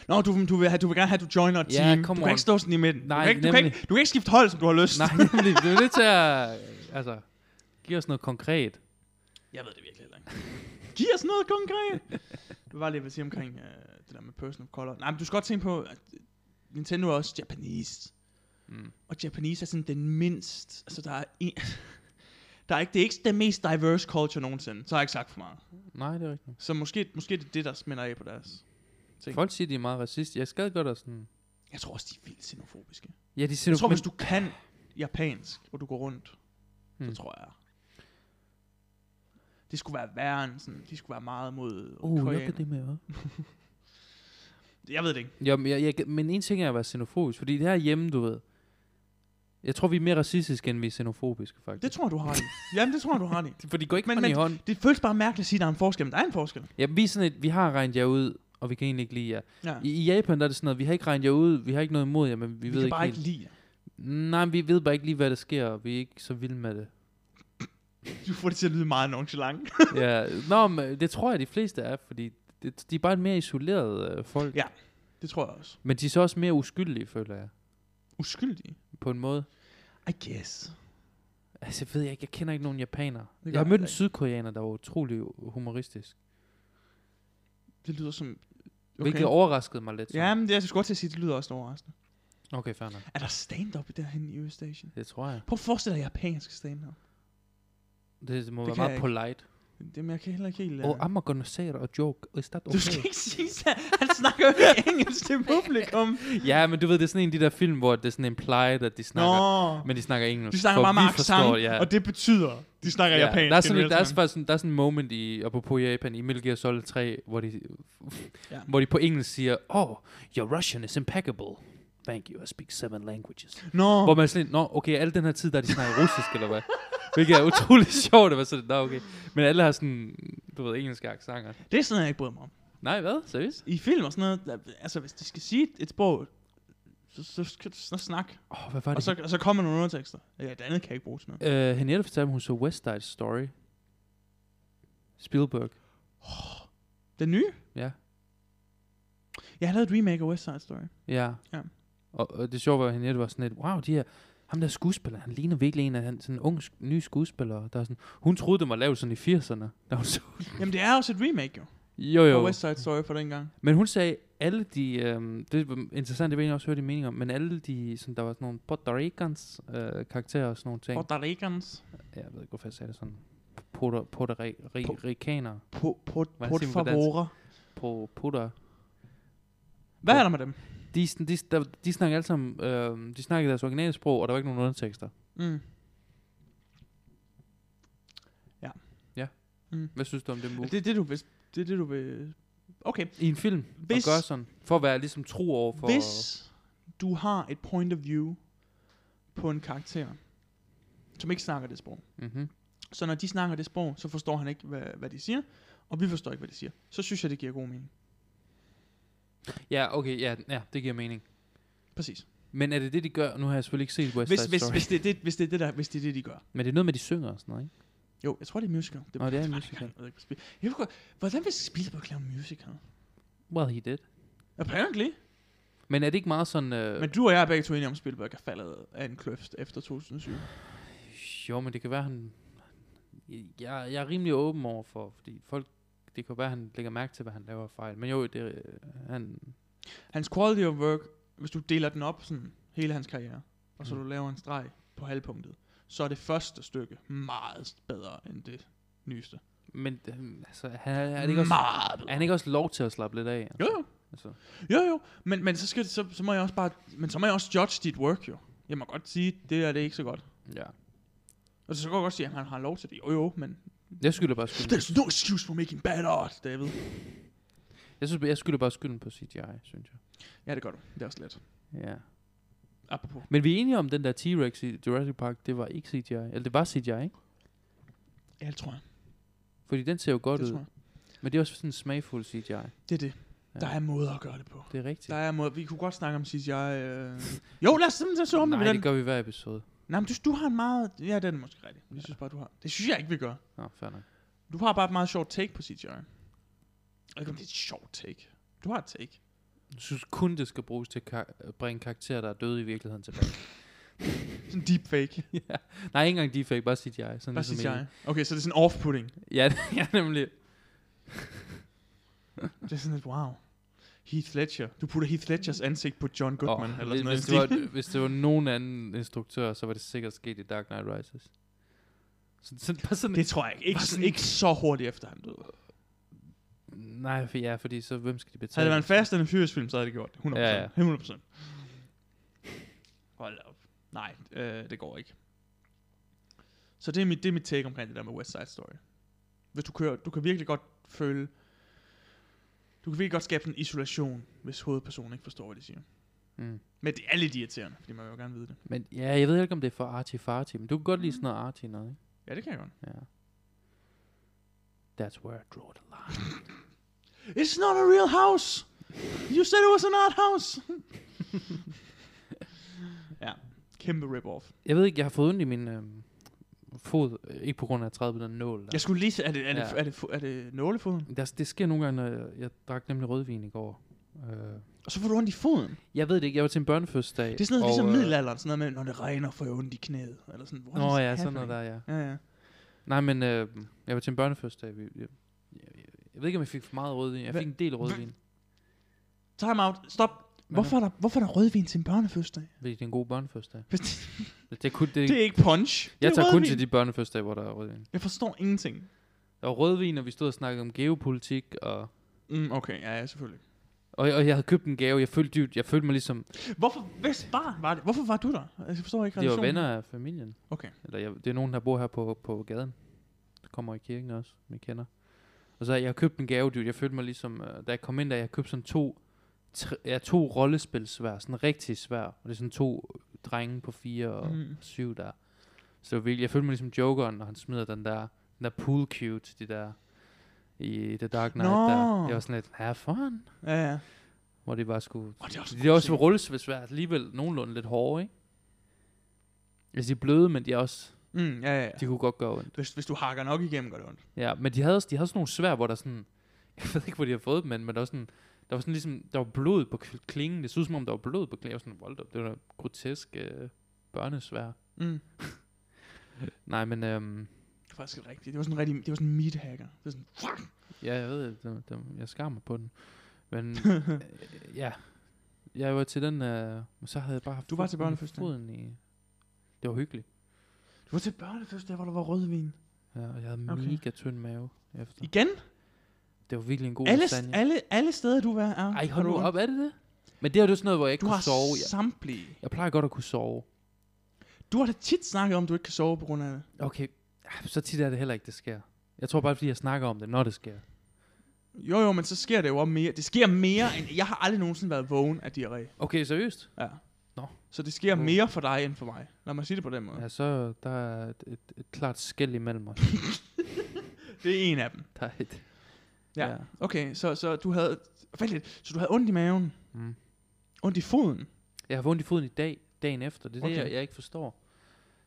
S2: Nå, du, du, vil, have, du vil gerne have, at du joiner et
S1: Ja,
S2: team.
S1: come
S2: du kan
S1: on.
S2: ikke stå sådan i midten.
S1: Nej,
S2: du, kan ikke, du, kan
S1: nemlig.
S2: ikke, du kan ikke skifte hold, som du har lyst.
S1: Nej, nemlig, du er nødt til at, altså, give os noget konkret.
S2: Jeg ved det virkelig heller ikke. Giv os noget konkret. Det var lige, jeg vil sige omkring øh, det der med personal color. Nej, men du skal godt tænke på, at Nintendo er også Japanese.
S1: Mm.
S2: Og Japanese er sådan den mindst... Altså, der er en, der er ikke, det er ikke den mest diverse culture nogensinde. Så har jeg ikke sagt for meget.
S1: Nej, det er rigtigt.
S2: Så måske, måske det er det, der smitter af på deres. Ting.
S1: Folk siger, de er meget racist. Jeg skal godt og sådan...
S2: Jeg tror også, de er vildt xenofobiske.
S1: Ja, de siger,
S2: Jeg tror,
S1: men-
S2: hvis du kan japansk, og du går rundt, mm.
S1: Mm.
S2: så tror jeg... Det
S1: Uh,
S2: skulle være værre end sådan... De skulle være meget mod
S1: Oh, look
S2: koreanere.
S1: at them, yeah.
S2: Det- Jeg ved det ikke.
S1: Jo, men, jeg, jeg, men en ting er at være xenofobisk, fordi det her hjemme, du ved, jeg tror, vi er mere racistiske, end vi er xenofobiske, faktisk.
S2: Det tror jeg, du har det. Jamen, det tror jeg, du har det.
S1: Det, for de går ikke
S2: Men-
S1: men, hånd
S2: men-
S1: i hånd.
S2: Det føles bare mærkeligt at sige, at der er en forskel, men der er en forskel.
S1: Ja, vi, er sådan et, vi har regnet jer ud, og vi kan egentlig ikke lide jer.
S2: Ja.
S1: I, I Japan der er det sådan noget, vi har ikke regnet jer ud, vi har ikke noget imod jer, men vi,
S2: Vi,
S1: ved
S2: vi kan
S1: ikke
S2: bare
S1: helt.
S2: ikke lide jer.
S1: Nej, men vi ved bare ikke lige, hvad der sker, og vi er ikke så vilde med det.
S2: Du får det til at lyde meget nonchalant.
S1: ja, nå, men øh, det tror jeg, de fleste er, fordi det, de er bare et mere isoleret øh, folk.
S2: Ja. Det tror jeg også.
S1: Men de er så også mere uskyldige, føler jeg,
S2: Uskyldige.
S1: på en måde.
S2: I guess.
S1: Altså, jeg ved jeg ikke, jeg kender ikke nogen japanere.
S2: gør
S1: Jeg har
S2: jeg
S1: mødt
S2: heller
S1: en
S2: ikke.
S1: sydkoreaner, der var utrolig humoristisk.
S2: Det lyder som...
S1: Okay. Hvilket overraskede mig lidt. sådan.
S2: Ja, men det er jeg skulle godt til at sige, det lyder også overraskende.
S1: Okay, fair nok.
S2: Er der stand-up i derhen i Østasien?
S1: Det tror jeg.
S2: Prøv at forestille dig japansk stand-up.
S1: Det må
S2: Det
S1: det
S2: kan
S1: være
S2: jeg
S1: meget
S2: ikke.
S1: polite.
S2: Jamen, jeg kan heller ikke helt... øh,
S1: Oh, I'm gonna say it a joke. Is that okay?
S2: Du skal ikke sige sådan. Han snakker jo ikke engelsk til publikum.
S1: ja, men du ved, det er sådan en af de der film, hvor det er sådan implied, at de
S2: Nå.
S1: snakker. Men de snakker engelsk.
S2: De snakker
S1: for
S2: bare med
S1: vi
S2: accent,
S1: forstår- ja.
S2: og det betyder, de snakker
S1: Ja,
S2: japansk.
S1: der er, sådan,
S2: generelt
S1: et- der, er
S2: sammen.
S1: faktisk sådan, der er sådan en moment i, apropos Japan, i Metal Gear Solid 3, hvor de,
S2: Ja.
S1: ja. hvor de på engelsk siger, Oh, your Russian is impeccable. Thank you, I speak seven languages.
S2: Nå,
S1: Oh. Hvor man er sådan, lidt, Nå, okay, al den her tid, der har de snakker russisk, eller hvad? Hvilket er utrolig sjovt, at være sådan, Nå, okay. Men alle har sådan, du ved, engelske aksanger.
S2: det er sådan noget, jeg ikke bryder mig om.
S1: Nej, hvad? Seriøst?
S2: I film og sådan noget, der, altså hvis de skal sige et sprog, så, så skal du sådan snakke.
S1: Åh, oh, hvad var
S2: Og
S1: det?
S2: så, og så kommer nogle undertekster. Ja, det andet kan jeg ikke bruge til noget.
S1: Øh, Henriette fortalte mig, hun så West Side Story. Spielberg.
S2: Den nye?
S1: Ja.
S2: Jeg har lavet et remake af West Side Story.
S1: Ja.
S2: Ja.
S1: Og, og det sjove var, at Henriette var sådan lidt, wow, de her, ham der skuespiller, han ligner virkelig en af han, sådan en ung, sk- ny skuespiller. Der er sådan, hun troede, det var lavet sådan i 80'erne. Da hun så,
S2: Jamen det er også et remake jo.
S1: jo,
S2: jo. Af
S1: jo.
S2: West Side Story fra dengang.
S1: Men hun sagde, alle de, øhm, det var interessant, det vil jeg egentlig også høre din mening om, men alle de, sådan, der var sådan nogle Puerto Ricans øh, karakterer og sådan nogle ting.
S2: Puerto Ricans.
S1: Ja, jeg ved ikke, hvorfor jeg sagde det sådan. Puerto, Puerto Ri- Ri- Ricaner.
S2: På, på,
S1: Hvordan
S2: på
S1: siger man på dansk?
S2: favora.
S1: På Puerto.
S2: Hvad er der med dem?
S1: De, sådan- de, der, de snakkede alle sammen, øh, de snakkede deres originale sprog, og der var ikke nogen undertekster.
S2: Mm.
S1: Hvad synes du om det move?
S2: Det er det, du vil... Det er det, du vil... Okay.
S1: I en film,
S2: Hvis-
S1: hvis, og gør sådan, for at være ligesom tro over for...
S2: Hvis du har et point of view på en karakter, som ikke snakker det sprog,
S1: Mm-hmm.
S2: Så når de snakker det sprog, så forstår han ikke, hvad, hvad de siger, og vi forstår ikke, hvad de siger. Så synes jeg, det giver god mening.
S1: Ja, okay, ja, ja, det giver mening.
S2: Præcis.
S1: Men er det det, de gør? Nu har jeg selvfølgelig ikke set West
S2: Hvis,
S1: Side
S2: hvis,
S1: Story.
S2: hvis, det, er det, hvis det er det, der, hvis det er det, de gør.
S1: Men det er noget med, de synger og sådan noget, ikke?
S2: Jo, jeg tror, det er musical.
S1: Nå, det er en
S2: Ej,
S1: musical.
S2: Jeg ved ikke, hvad Spiel- jeg ved godt- hvordan vil Spielberg lave en musical?
S1: Well, he did.
S2: Apparently.
S1: Men er det ikke meget sådan... Øh,
S2: Men du og jeg er begge to enige om, at Spielberg er faldet af en kløft efter 2007.
S1: Jo, men det kan være, han... Jeg, jeg er rimelig åben over for, fordi folk... Det kan jo være, han lægger mærke til, hvad han laver af fejl. Men jo, det, øh, han...
S2: Hans quality of work, hvis du deler den op, sådan hele hans karriere, og så
S1: Mm.
S2: du laver en streg på halvpunktet, så er det første stykke meget bedre end det nyeste.
S1: Men øh, altså, han, er, er, det ikke også,
S2: meget bedre.
S1: er han ikke også lov til at slappe lidt af? Altså?
S2: Jo, jo.
S1: Altså,
S2: Jo, jo, men, men så, skal det, så, så, må jeg også bare, men så må jeg også judge dit work, jo. Jeg må godt sige, det er det er ikke så godt.
S1: ja.
S2: Og så kan jeg godt sige, at han har lov til det. Jo, jo, men...
S1: Jeg skylder bare skylden.
S2: There's no excuse for making bad art, David.
S1: Jeg, synes, jeg skylder bare skylden på CGI, synes jeg.
S2: Ja, det gør du. Det er også let.
S1: Ja.
S2: Apropos.
S1: Men vi er enige om, den der T-Rex i Jurassic Park, det var ikke CGI. Eller det var CGI, ikke?
S2: Ja, det tror jeg.
S1: Fordi den ser jo godt
S2: Det
S1: ud.
S2: tror jeg.
S1: Men det er også sådan en smagfuld CGI. Det
S2: Det er det.
S1: Ja.
S2: Der er måder at gøre det på.
S1: er rigtigt.
S2: Der er måder. Vi kunne godt snakke om CGI. Øh... Jo, lad os simpelthen så om det
S1: Nej,
S2: med den.
S1: det gør vi hver episode.
S2: Nej, men du, du har en meget... Ja, den er måske rigtig. Jeg synes bare, du har... Det synes jeg ikke, vi gør.
S1: Nå, fair nok.
S2: Du har bare et meget sjovt take på CGI. Jeg ved ikke, om det er et sjovt take. Du har et take.
S1: Jeg synes kun, det skal bruges til at kar- at bringe karakterer, der er døde i virkeligheden tilbage.
S2: Sådan deepfake.
S1: ja. Nej, ikke engang deepfake, bare CGI. Sådan
S2: Hvad
S1: ligesom
S2: siger jeg?
S1: egentlig.
S2: Okay, så det er sådan off-putting.
S1: Ja, ja, nemlig.
S2: Det er sådan lidt, wow. Heath Ledger. Du putter Heath Ledgers ansigt på John Goodman, oh,
S1: Åh,
S2: eller
S1: hvis,
S2: sådan noget.
S1: hvis, det var, hvis det var nogen anden instruktør, så var det sikkert sket i Dark Knight Rises. Så, så, bare sådan,
S2: det tror jeg ikke. Ikke,
S1: Bare
S2: sådan,
S1: sådan-
S2: ikke så hurtigt efter han døde.
S1: Nej, for, ja, fordi så hvem skal de
S2: Havde
S1: betale?
S2: det været en Fast and Furious film, så havde det gjort det. 100%.
S1: Ja, ja.
S2: 100%. Hold op. Nej, øh, det går ikke. Så det er, mit, det er mit take omkring det der med West Side Story. Hvis du kører, du kan virkelig godt føle, Du kan virkelig godt skabe sådan en isolation, hvis hovedpersonen ikke forstår, hvad de siger.
S1: Mm.
S2: Men det er lidt irriterende, fordi man vil jo gerne vide det.
S1: Men ja, jeg ved ikke, om det er for arty-farty, men du kan godt lide sådan noget arty noget, ikke?
S2: Ja, det kan jeg godt.
S1: Ja. That's where I draw the line.
S2: It's not a real house! You said it was an art house! ja, kæmpe rip-off.
S1: Jeg ved ikke, jeg har fået ondt i min øh, fod, øh, ikke på grund af at træde på den nål. Der.
S2: Jeg skulle lige se, er det, er det,
S1: Ja.
S2: er det, er det, nålefoden?
S1: Der, det sker nogle gange, når jeg, jeg drak nemlig rødvin i går. Øh,
S2: Og så får du ondt i foden.
S1: jeg ved det ikke, jeg var til en børnefødselsdag.
S2: Det er sådan noget,
S1: og,
S2: ligesom
S1: øh,
S2: middelalderen, sådan noget med, når det regner, får jeg ondt i knæet. Eller sådan, what
S1: Nå
S2: is
S1: ja, sådan
S2: happening?
S1: noget der, ja.
S2: Ja, ja.
S1: Nej, men øh, jeg var til en børnefødselsdag. Vi- Jeg, jeg, jeg, jeg ved ikke, om jeg fik for meget rødvin. Jeg
S2: Hva-
S1: fik en del rødvin,
S2: Time out. Stop. Hvorfor er, der, hvorfor er der rødvin til en børnefødselsdag?
S1: fordi det er en god børnefødselsdag.
S2: Hvis
S1: Det, det, kunne, det,
S2: Det er ikke punch. Det
S1: jeg
S2: er
S1: tager kun
S2: rødvin.
S1: til de børnefødselsdage, hvor der er rødvin.
S2: Jeg forstår ingenting.
S1: Der var rødvin, og vi stod og snakkede om geopolitik, og,
S2: Mm, okay, ja, ja, selvfølgelig.
S1: og, og jeg havde købt en gave. Jeg følte dybt, jeg følte mig ligesom,
S2: Hvorfor, hvis barn var det? Hvorfor var du der? Altså, Jeg forstår ikke
S1: det var
S2: relationen.
S1: venner af familien.
S2: Okay.
S1: Eller jeg, det er nogen, der bor her på, på gaden. Der kommer i kirken også, vi kender. Og så jeg har købt en gave, dude. Jeg følte mig ligesom, øh, da jeg kom ind der, jeg købte sådan to, tre, ja, to rollespilsvær, sådan rigtig svær. Og det er sådan to øh, drenge på fire og
S2: Mm.
S1: mm. syv der. Så det var virkelig, jeg følte mig ligesom jokeren, når han smider den der, den der pool cue til de der, i The Dark Knight
S2: Nå.
S1: der. Jeg var sådan lidt, have fun.
S2: Ja, ja.
S1: Hvor det bare skulle...
S2: Oh, det er også,
S1: Det er også rullespilsvær, alligevel nogenlunde lidt hårde, ikke? Altså, de er bløde, men de er også...
S2: Mm, ja, ja, ja.
S1: De kunne godt gøre ondt.
S2: Hvis, hvis du hakker nok igennem, gør det ondt.
S1: Ja, men de havde, også- de havde sådan nogle svær, hvor der sådan... Jeg ved ikke, hvor de har fået dem, men men der var sådan... Der var sådan ligesom... Der var blod på kl- klingen. Det så ud som om, der var blod på klingen. Jeg var sådan, voldt op. Det var da grotesk øh, børnesvær.
S2: Mm.
S1: Nej, men... Øhm,
S2: Det var faktisk ikke rigtigt. Det var sådan en rigtig, det var sådan en meat hacker. Det var sådan,
S1: ja, jeg ved, det, det, det, jeg skar mig på den. Men øh, ja, jeg var til den... Øh, men så havde jeg bare haft
S2: Du var til
S1: foden-
S2: børnefødselsdag?
S1: foden i... Det var hyggeligt.
S2: du var til børnefødselsdag, hvor der var rødvin.
S1: Ja, og jeg havde
S2: Okay.
S1: okay. mega tynd mave efter.
S2: Igen?
S1: Det var virkelig en god
S2: Alle,
S1: lasagne.
S2: alle, alle steder, du var, er.
S1: Ej,
S2: har
S1: hold nu
S2: ondt.
S1: op, er det det? Men det er jo sådan noget, hvor jeg ikke
S2: Du har
S1: kunne sove. Jeg,
S2: samtlige.
S1: jeg plejer godt at kunne sove.
S2: Du har da tit snakket om, at du ikke kan sove på grund af det.
S1: Okay, ah, så tit er det heller ikke, det sker. Jeg tror bare, fordi jeg snakker om det, når det sker.
S2: Jo, jo, men så sker det jo også mere. Det sker mere, end... Jeg har aldrig nogensinde været vågen af diarré.
S1: Okay, seriøst?
S2: Ja.
S1: Nå.
S2: Så det sker
S1: Mm.
S2: mere for dig, end for mig. Lad mig sige det på den måde.
S1: Ja, så der er et, et, et klart skæld imellem os.
S2: Det er en af dem.
S1: Der er et...
S2: Ja. Okay, så, så du havde... Vent lidt. Så du havde ondt i maven.
S1: Mm.
S2: Ondt i foden.
S1: Jeg har fået ondt i foden i dag, dagen efter. Det er okay.
S2: Okay.
S1: det, jeg, jeg ikke forstår.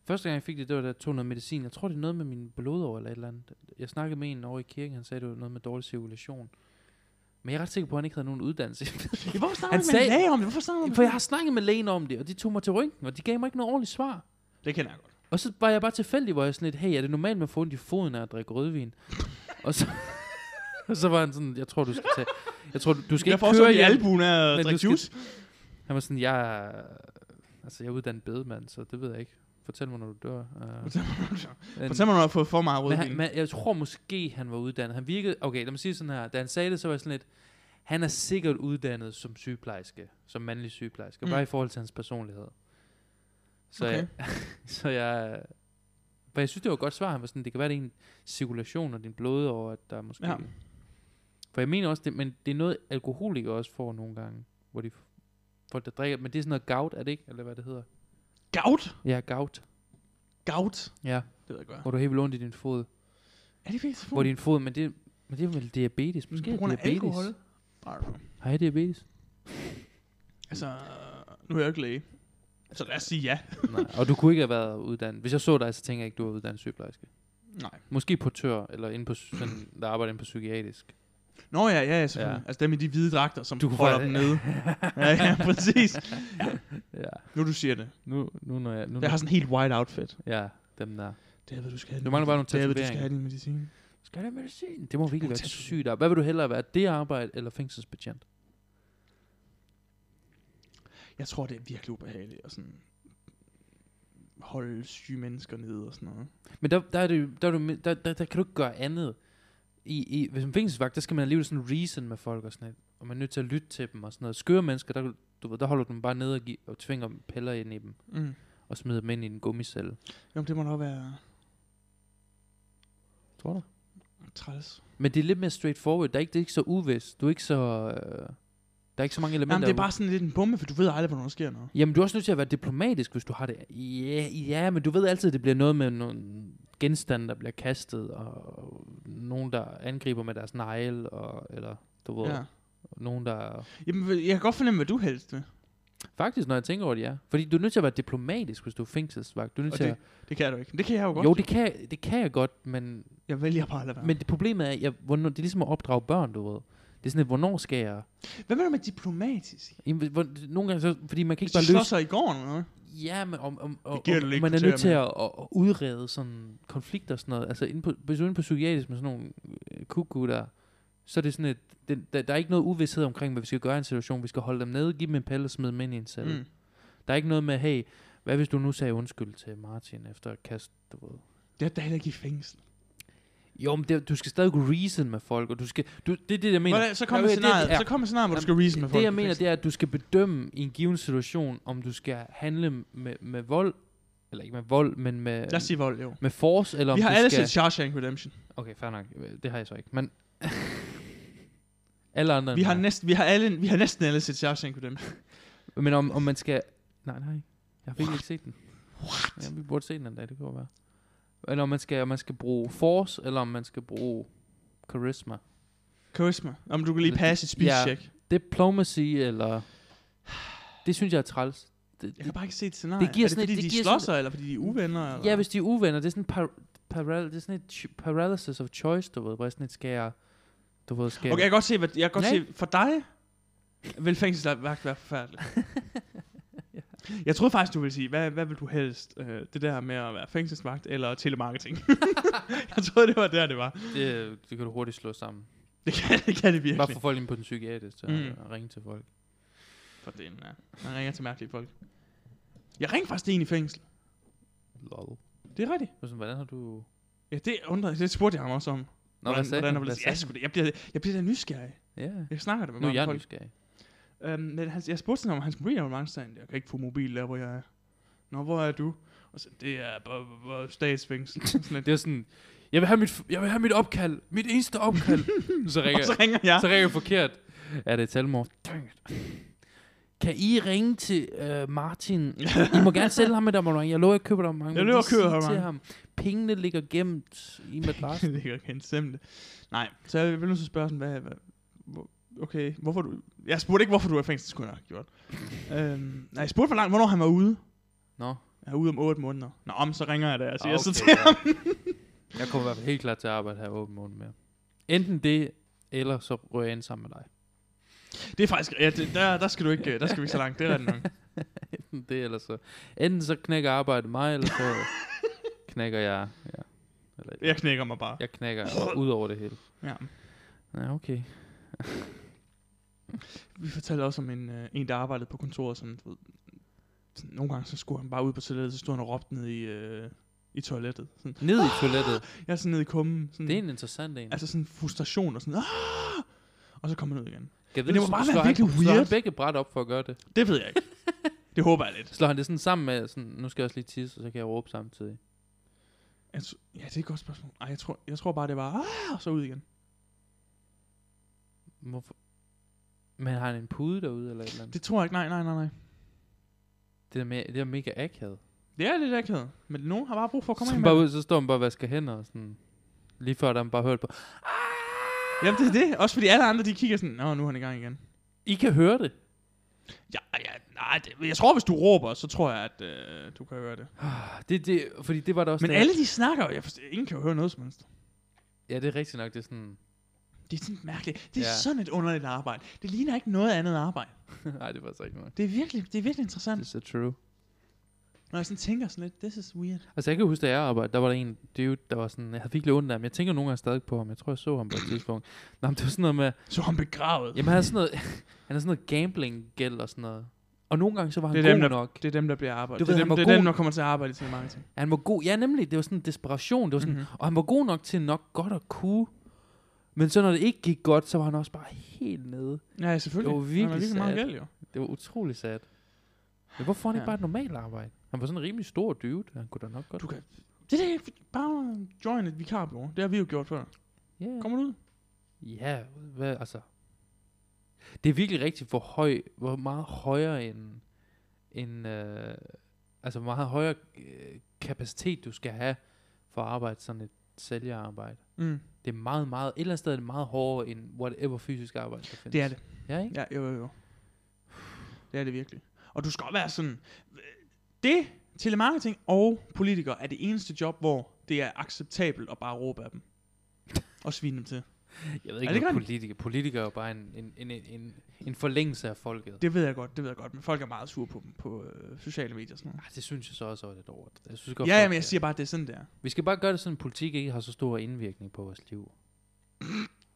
S1: Første gang, jeg fik det, det var, da jeg tog noget medicin. Jeg tror, det er noget med min blodår eller et eller andet. Jeg snakkede med en over i kirken, han sagde, det var noget med dårlig cirkulation. Men jeg er ret sikker på, at han ikke havde nogen uddannelse.
S2: Ja, hvorfor snakker
S1: Han
S2: du med
S1: sagde-
S2: en læge om det? Hvorfor snakker du med
S1: For jeg har snakket med lægen om det, og de tog mig til røntgen, og de gav mig ikke noget ordentligt svar.
S2: Det kender jeg godt.
S1: Og så var jeg bare tilfældig, hvor jeg sådan lidt, hey, er det normalt, man får ondt i foden af at drikke rødvin? og så, og så var han sådan, jeg tror, du skal tage, jeg tror, du, du skal
S2: jeg
S1: ikke
S2: får
S1: køre
S2: også i
S1: hjem.
S2: albuen af
S1: Men
S2: at
S1: du
S2: drikke
S1: skal-
S2: juice.
S1: Han var sådan, jeg er, altså, jeg er uddannet bedemand, så det ved jeg ikke. Fortæl mig, når du dør. Uh, men,
S2: Fortæl mig, når du har fået for meget
S1: men, han,
S2: rødvin.
S1: men, jeg tror måske, han var uddannet. Han virkede, okay, lad mig sige sådan her, da han sagde det, så var jeg sådan lidt, han er sikkert uddannet som sygeplejerske, som mandlig sygeplejerske,
S2: Mm.
S1: mm. bare i forhold til hans personlighed. Så
S2: Okay.
S1: jeg, Så jeg... For jeg synes, det var et godt svar. Han var sådan, det kan være, det er en cirkulation og din blod over, at der er måske...
S2: Ja.
S1: Ja. For jeg mener også, det, men det er noget, alkoholikere også får nogle gange, hvor de folk, der drikker, men det er sådan noget gout, er det ikke? Eller hvad det hedder?
S2: Gout?
S1: Ja, gout.
S2: Gout?
S1: Ja,
S2: Det ved jeg godt.
S1: hvor du har helt vildt ondt i din fod. Mm.
S2: Er det virkelig så
S1: Hvor din fod, men det, men det er vel diabetes. Måske
S2: på
S1: er
S2: grund af
S1: diabetes.
S2: alkohol? Nej, nej.
S1: Har jeg diabetes?
S2: Altså, nu er jeg jo ikke læge. Så lad os sige ja.
S1: Nej, og du kunne ikke have været uddannet. Hvis jeg så dig, så tænker jeg ikke, du er uddannet sygeplejerske.
S2: Nej.
S1: Måske portør, eller inde på, sådan, der arbejder inde på psykiatrisk.
S2: Nå ja, ja, ja selvfølgelig. Ja.
S1: Ja.
S2: Altså dem i de hvide dragter, som du
S1: Du kunne
S2: holder
S1: få-
S2: dem nede. ja, ja, præcis.
S1: Ja.
S2: Nu du siger det.
S1: Nu, nu når jeg... Nu,
S2: Jeg har sådan en helt white outfit.
S1: Ja, dem der.
S2: David, du skal have
S1: Du mangler bare nogle
S2: David, du skal
S1: tatoveringer.
S2: have din medicin.
S1: Skal jeg have medicin? Det må virkelig være
S2: tatoveringer.
S1: sygt. op. Hvad vil du hellere være? Det arbejde eller fængselsbetjent?
S2: Jeg tror, det er virkelig ubehageligt at sådan holde syge mennesker nede og sådan noget.
S1: Men der, der, er det, jo- der, er du, der, der, der, kan du ikke gøre andet. I, i, hvis man er fængselsvagt, der skal man alligevel sådan reason med folk og sådan noget. Og man er nødt til at lytte til dem og sådan noget. Skøre mennesker, der, du ved, der holder du dem bare nede og, gi- og tvinger dem piller ind i dem.
S2: Mm.
S1: Og smider dem ind i en gummicelle.
S2: Jo, men det må nok være...
S1: Tror du?
S2: Træls.
S1: Men det er lidt mere straightforward. Der er ikke, det er ikke så uvist. Du er ikke så... Øh, der er ikke så mange elementer.
S2: Jamen, det er
S1: hvor-
S2: bare sådan lidt en bombe, for du ved aldrig, hvornår der sker noget.
S1: Jamen, du er også nødt til at være diplomatisk, hvis du har det. Ja, ja men du ved altid, at det bliver noget med nogle genstande, der bliver kastet, og nogen, der angriber med deres negl, og, eller du ved, ja.
S2: Ja.
S1: nogen, der...
S2: Jamen, jeg kan godt fornemme, hvad du helst vil.
S1: Faktisk, når jeg tænker over det, ja. Fordi du er nødt til at være diplomatisk, hvis du er fængselsvagt. Du er nødt
S2: Og
S1: til
S2: det, det kan du ikke. Det kan jeg jo
S1: at...
S2: godt.
S1: Jo, det kan, det kan jeg godt, men,
S2: Jeg vælger bare at lade være.
S1: ja. men det problemet er, jeg, hvornår, det er ligesom at opdrage børn, du ved. Det er sådan, at hvornår skal jeg...
S2: Hvad mener du med diplomatisk?
S1: Jamen, hvor, nogle gange så... Fordi man kan
S2: Hvis
S1: ikke
S2: de
S1: bare
S2: slår
S1: løse...
S2: sig i går eller noget.
S1: Ja, men om, om, og,
S2: Det giver
S1: og,
S2: du ikke
S1: man er
S2: til
S1: nødt til
S2: at-
S1: at, at, at udrede sådan konflikter og sådan noget. Altså, inde på, hvis du er inde på psykiatrisk med sådan nogle øh, kuku der, så er det sådan et, det, der, der er ikke noget uvidshed omkring, hvad vi skal gøre i en situation. Vi skal holde dem nede, give dem en pille og smide dem ind i en celle. Mm.
S2: Mm.
S1: Der er ikke noget med, hey, hvad hvis du nu sagde undskyld til Martin efter at kaste, du ved.
S2: Det er da heller ikke i fængsel.
S1: Jo, men det, du skal stadig kunne reason med folk, og du skal, du, det er det, jeg mener.
S2: Hvordan, så kommer
S1: Ja, det-
S2: scenariet,
S1: ja.
S2: så kommer scenariet, hvor du skal
S1: Jamen,
S2: reason med
S1: det,
S2: folk.
S1: Det, jeg mener, det er, at du skal bedømme i en given situation, om du skal handle med, med vold, eller ikke med vold, men med...
S2: Lad os sige vold, jo.
S1: Med force, eller om
S2: Vi har
S1: du
S2: alle
S1: skal...
S2: set Shawshank Redemption.
S1: Okay, fair nok. Det har jeg så ikke, men... alle andre end
S2: Vi har,
S1: mig.
S2: næsten, vi, har alle, vi har næsten alle set Shawshank Redemption.
S1: Men om, om man skal... Nej, nej. Jeg har virkelig ikke set den. What? Ja, vi burde se den en dag, det kunne godt være. Eller om man skal, om man skal bruge force, eller om man skal bruge charisma.
S2: Charisma. Om du kan lige passe et speech
S1: Ja.
S2: check.
S1: Diplomacy, eller... Det synes jeg er træls. Det,
S2: Jeg kan
S1: det,
S2: bare ikke se et scenarie.
S1: giver
S2: er det
S1: sådan et-
S2: fordi,
S1: det
S2: de
S1: giver
S2: slår
S1: sådan-
S2: sig, eller fordi de er uvenner? Eller?
S1: ja, hvis de er uvenner, det er sådan par, paral, det er sådan et ch- paralysis of choice, du ved, hvor jeg sådan et skal jeg, du ved, skal
S2: Okay, jeg kan godt se, hvad, jeg kan godt
S1: Nej.
S2: se for dig vil fængselsvagt være forfærdeligt. Jeg troede faktisk, du ville sige, hvad, hvad vil du helst? Øh, det der med at være fængselsvagt eller telemarketing? jeg troede, det var der, det var.
S1: det, det kan du hurtigt slå sammen.
S2: Det kan det, kan
S1: Bare
S2: det
S1: for
S2: virkelig.
S1: folk ind på den psykiatriske, så
S2: Mm.
S1: mm. ringe til folk.
S2: For den, ja. Man ringer til mærkelige folk. Jeg ringer faktisk til en i fængsel.
S1: Lol.
S2: Det er rigtigt.
S1: Og Sådan, hvordan har du...
S2: Ja, det undrede Det spurgte jeg ham også om. Nå,
S1: Nå, hvad sagde han?
S2: hvordan,
S1: Hvad
S2: hvordan, jeg,
S1: sagde
S2: jeg, jeg, bliver, jeg bliver da nysgerrig.
S1: han? Ja.
S2: Jeg snakker det med
S1: Nu er
S2: mange
S1: jeg
S2: folk.
S1: nysgerrig.
S2: Øhm, men han, jeg spurgte sådan, om han skulle blive abonnement, så sagde han, jeg kan ikke få mobil der, hvor jeg er. Nå, hvor er du? Og så, det er b- b- b- statsfængsel. sådan lidt.
S1: Det er sådan, jeg vil have mit, jeg vil have mit opkald. Mit eneste opkald. så ringer,
S2: Og så ringer jeg.
S1: så ringer jeg forkert. Er det et selvmord? Dang it. Kan I ringe til øh, Martin? I må gerne sælge ham et abonnement. Jeg lover, at købe et abonnement.
S2: Jeg
S1: men
S2: lover
S1: lige
S2: at købe et
S1: sig til
S2: abonnement.
S1: ham. Pengene ligger gemt i madrassen.
S2: det kan ikke stemme det. Nej, så jeg vil nu så spørge sådan, hvad, hvad hvor, okay, hvorfor du... Jeg spurgte ikke, hvorfor du er i fængsel, det skulle jeg nok have gjort. øhm, nej, jeg spurgte, hvor langt, hvornår han var ude.
S1: Nå.
S2: Han er ude om 8 måneder. Nå, om så ringer Altså, jeg da, og siger
S1: Ah,
S2: okay, så
S1: okay,
S2: til
S1: ja.
S2: ham.
S1: Jeg kommer i hvert fald helt klart til at arbejde her åben måned mere. Enten det, eller så rører jeg ind sammen med dig.
S2: Det er faktisk... Ja, det, der, der skal du ikke... øh, Der skal vi ikke så langt, det er rigtigt nok.
S1: Enten det, eller så... Enten så knækker arbejdet mig, eller så knækker jeg... Ja. Eller,
S2: Jeg knækker mig bare.
S1: jeg knækker ud over det hele.
S2: Ja.
S1: Ja, okay.
S2: Vi fortalte også om en, øh, en der arbejdede på kontoret, som du ved, sådan, nogle gange så skulle han bare ud på toilettet, så stod han og råbte ned i, øh, i toilettet. Sådan,
S1: Ned i toilettet.
S2: jeg er sådan nede i kummen. Sådan,
S1: Det er en interessant en.
S2: Altså sådan frustration og sådan, Aah! og så kom han ud igen.
S1: Kan
S2: men det må bare være virkelig
S1: Slår han
S2: weird.
S1: begge bræt op for at gøre det?
S2: Det ved jeg ikke. det håber jeg lidt.
S1: Slår han det sådan sammen med, sådan, nu skal jeg også lige tisse, og så kan jeg råbe samtidig.
S2: Jeg tr- Altså, ja, det er et godt spørgsmål. Ej, jeg tror, jeg tror bare, det var, "Ah!" og så ud igen.
S1: Hvorfor? Men har han en pude derude, eller et eller andet? Det,
S2: Det tror jeg ikke, nej, nej, nej, nej.
S1: det, er, me- det er mega akavet.
S2: Det er lidt akavet, men nogen har bare brug for at komme
S1: Så,
S2: hjem.
S1: bare ud, så står han bare og vasker hænder, og sådan... Lige før, der han bare hørt på.
S2: Jamen, det er det. Også fordi alle andre, de kigger sådan, nå, nu er han i gang igen.
S1: I kan høre det.
S2: Ja, ja, nej, det, jeg tror, hvis du råber, så tror jeg, at øh, du kan høre det.
S1: Ah, det, det fordi det var der også...
S2: Men
S1: da jeg-
S2: alle de snakker, jeg forstår, ingen kan jo høre noget som helst.
S1: Ja, det er rigtigt nok, det er sådan...
S2: Det er sådan mærkeligt. Det er
S1: Ja.
S2: ja. sådan et underligt arbejde. Det ligner ikke noget andet arbejde.
S1: Nej, det var så ikke nok.
S2: Det er virkelig, det er virkelig interessant.
S1: Det er så true.
S2: Når jeg sådan tænker sådan lidt, this is weird.
S1: Altså, jeg kan huske, da jeg arbejdede, der var der en dude, der var sådan... Jeg havde virkelig ondt af ham. Jeg tænker nogle gange stadig på ham. Jeg tror, jeg så ham på et tidspunkt. Nå, men det var sådan noget med...
S2: Så er han begravet.
S1: Jamen, han er sådan noget, han er sådan noget gambling-gæld og sådan noget. Og nogle gange, så var han
S2: Det er
S1: god
S2: dem, der-
S1: nok.
S2: Det er dem, der bliver arbejdet.
S1: Du ved,
S2: det er,
S1: han
S2: dem,
S1: var
S2: det er
S1: god-
S2: dem, der kommer til at arbejde i telemarketing.
S1: Han var god. Ja, nemlig. Det var sådan en desperation. Det var sådan,
S2: Mhm.
S1: mm-hmm. Og han var god nok til nok godt at kunne. Men så når det ikke gik godt, så var han også bare helt nede.
S2: Ja, selvfølgelig.
S1: Det var virkelig
S2: han er virkelig meget
S1: sad.
S2: gæld, jo.
S1: Det var utrolig sad. Men hvorfor er han ja.
S2: Ja.
S1: ikke bare et normalt arbejde? Han var sådan en rimelig stor dude. Han kunne da nok godt...
S2: Du kan... Det er da ikke- bare join et vikarbureau. Det har vi jo gjort før.
S1: Yeah.
S2: Kommer du ud?
S1: Ja, hvad, altså. Det er virkelig rigtigt, hvor høj, hvor meget højere en, en øh, altså hvor meget højere øh, kapacitet du skal have for at arbejde sådan et sælgerarbejde.
S2: Mm.
S1: Det er meget, meget, et eller andet sted er det meget hårdere end whatever fysisk arbejde, der findes.
S2: Det er det.
S1: Ja, ikke?
S2: Ja, jo, jo, jo. Det er det virkelig. Og du skal også være sådan... øh, Det, telemarketing og politikere, er det eneste job, hvor det er acceptabelt at bare råbe af dem. Og svine dem til.
S1: Jeg ved
S2: Er
S1: ikke,
S2: det
S1: hvad
S2: godt?
S1: politikere. Politikere er jo bare en, en, en, en- en, en forlængelse af folket. Det,
S2: Det ved jeg godt, det ved jeg godt. Men folk er meget sure på dem på øh, sociale medier og sådan noget.
S1: Ah, det synes jeg så også er lidt over. Jeg synes godt,
S2: Ja,
S1: folk
S2: ja, men jeg
S1: er-
S2: siger bare, at det er sådan der.
S1: Vi skal bare gøre det sådan, at politik ikke har så stor indvirkning på vores liv.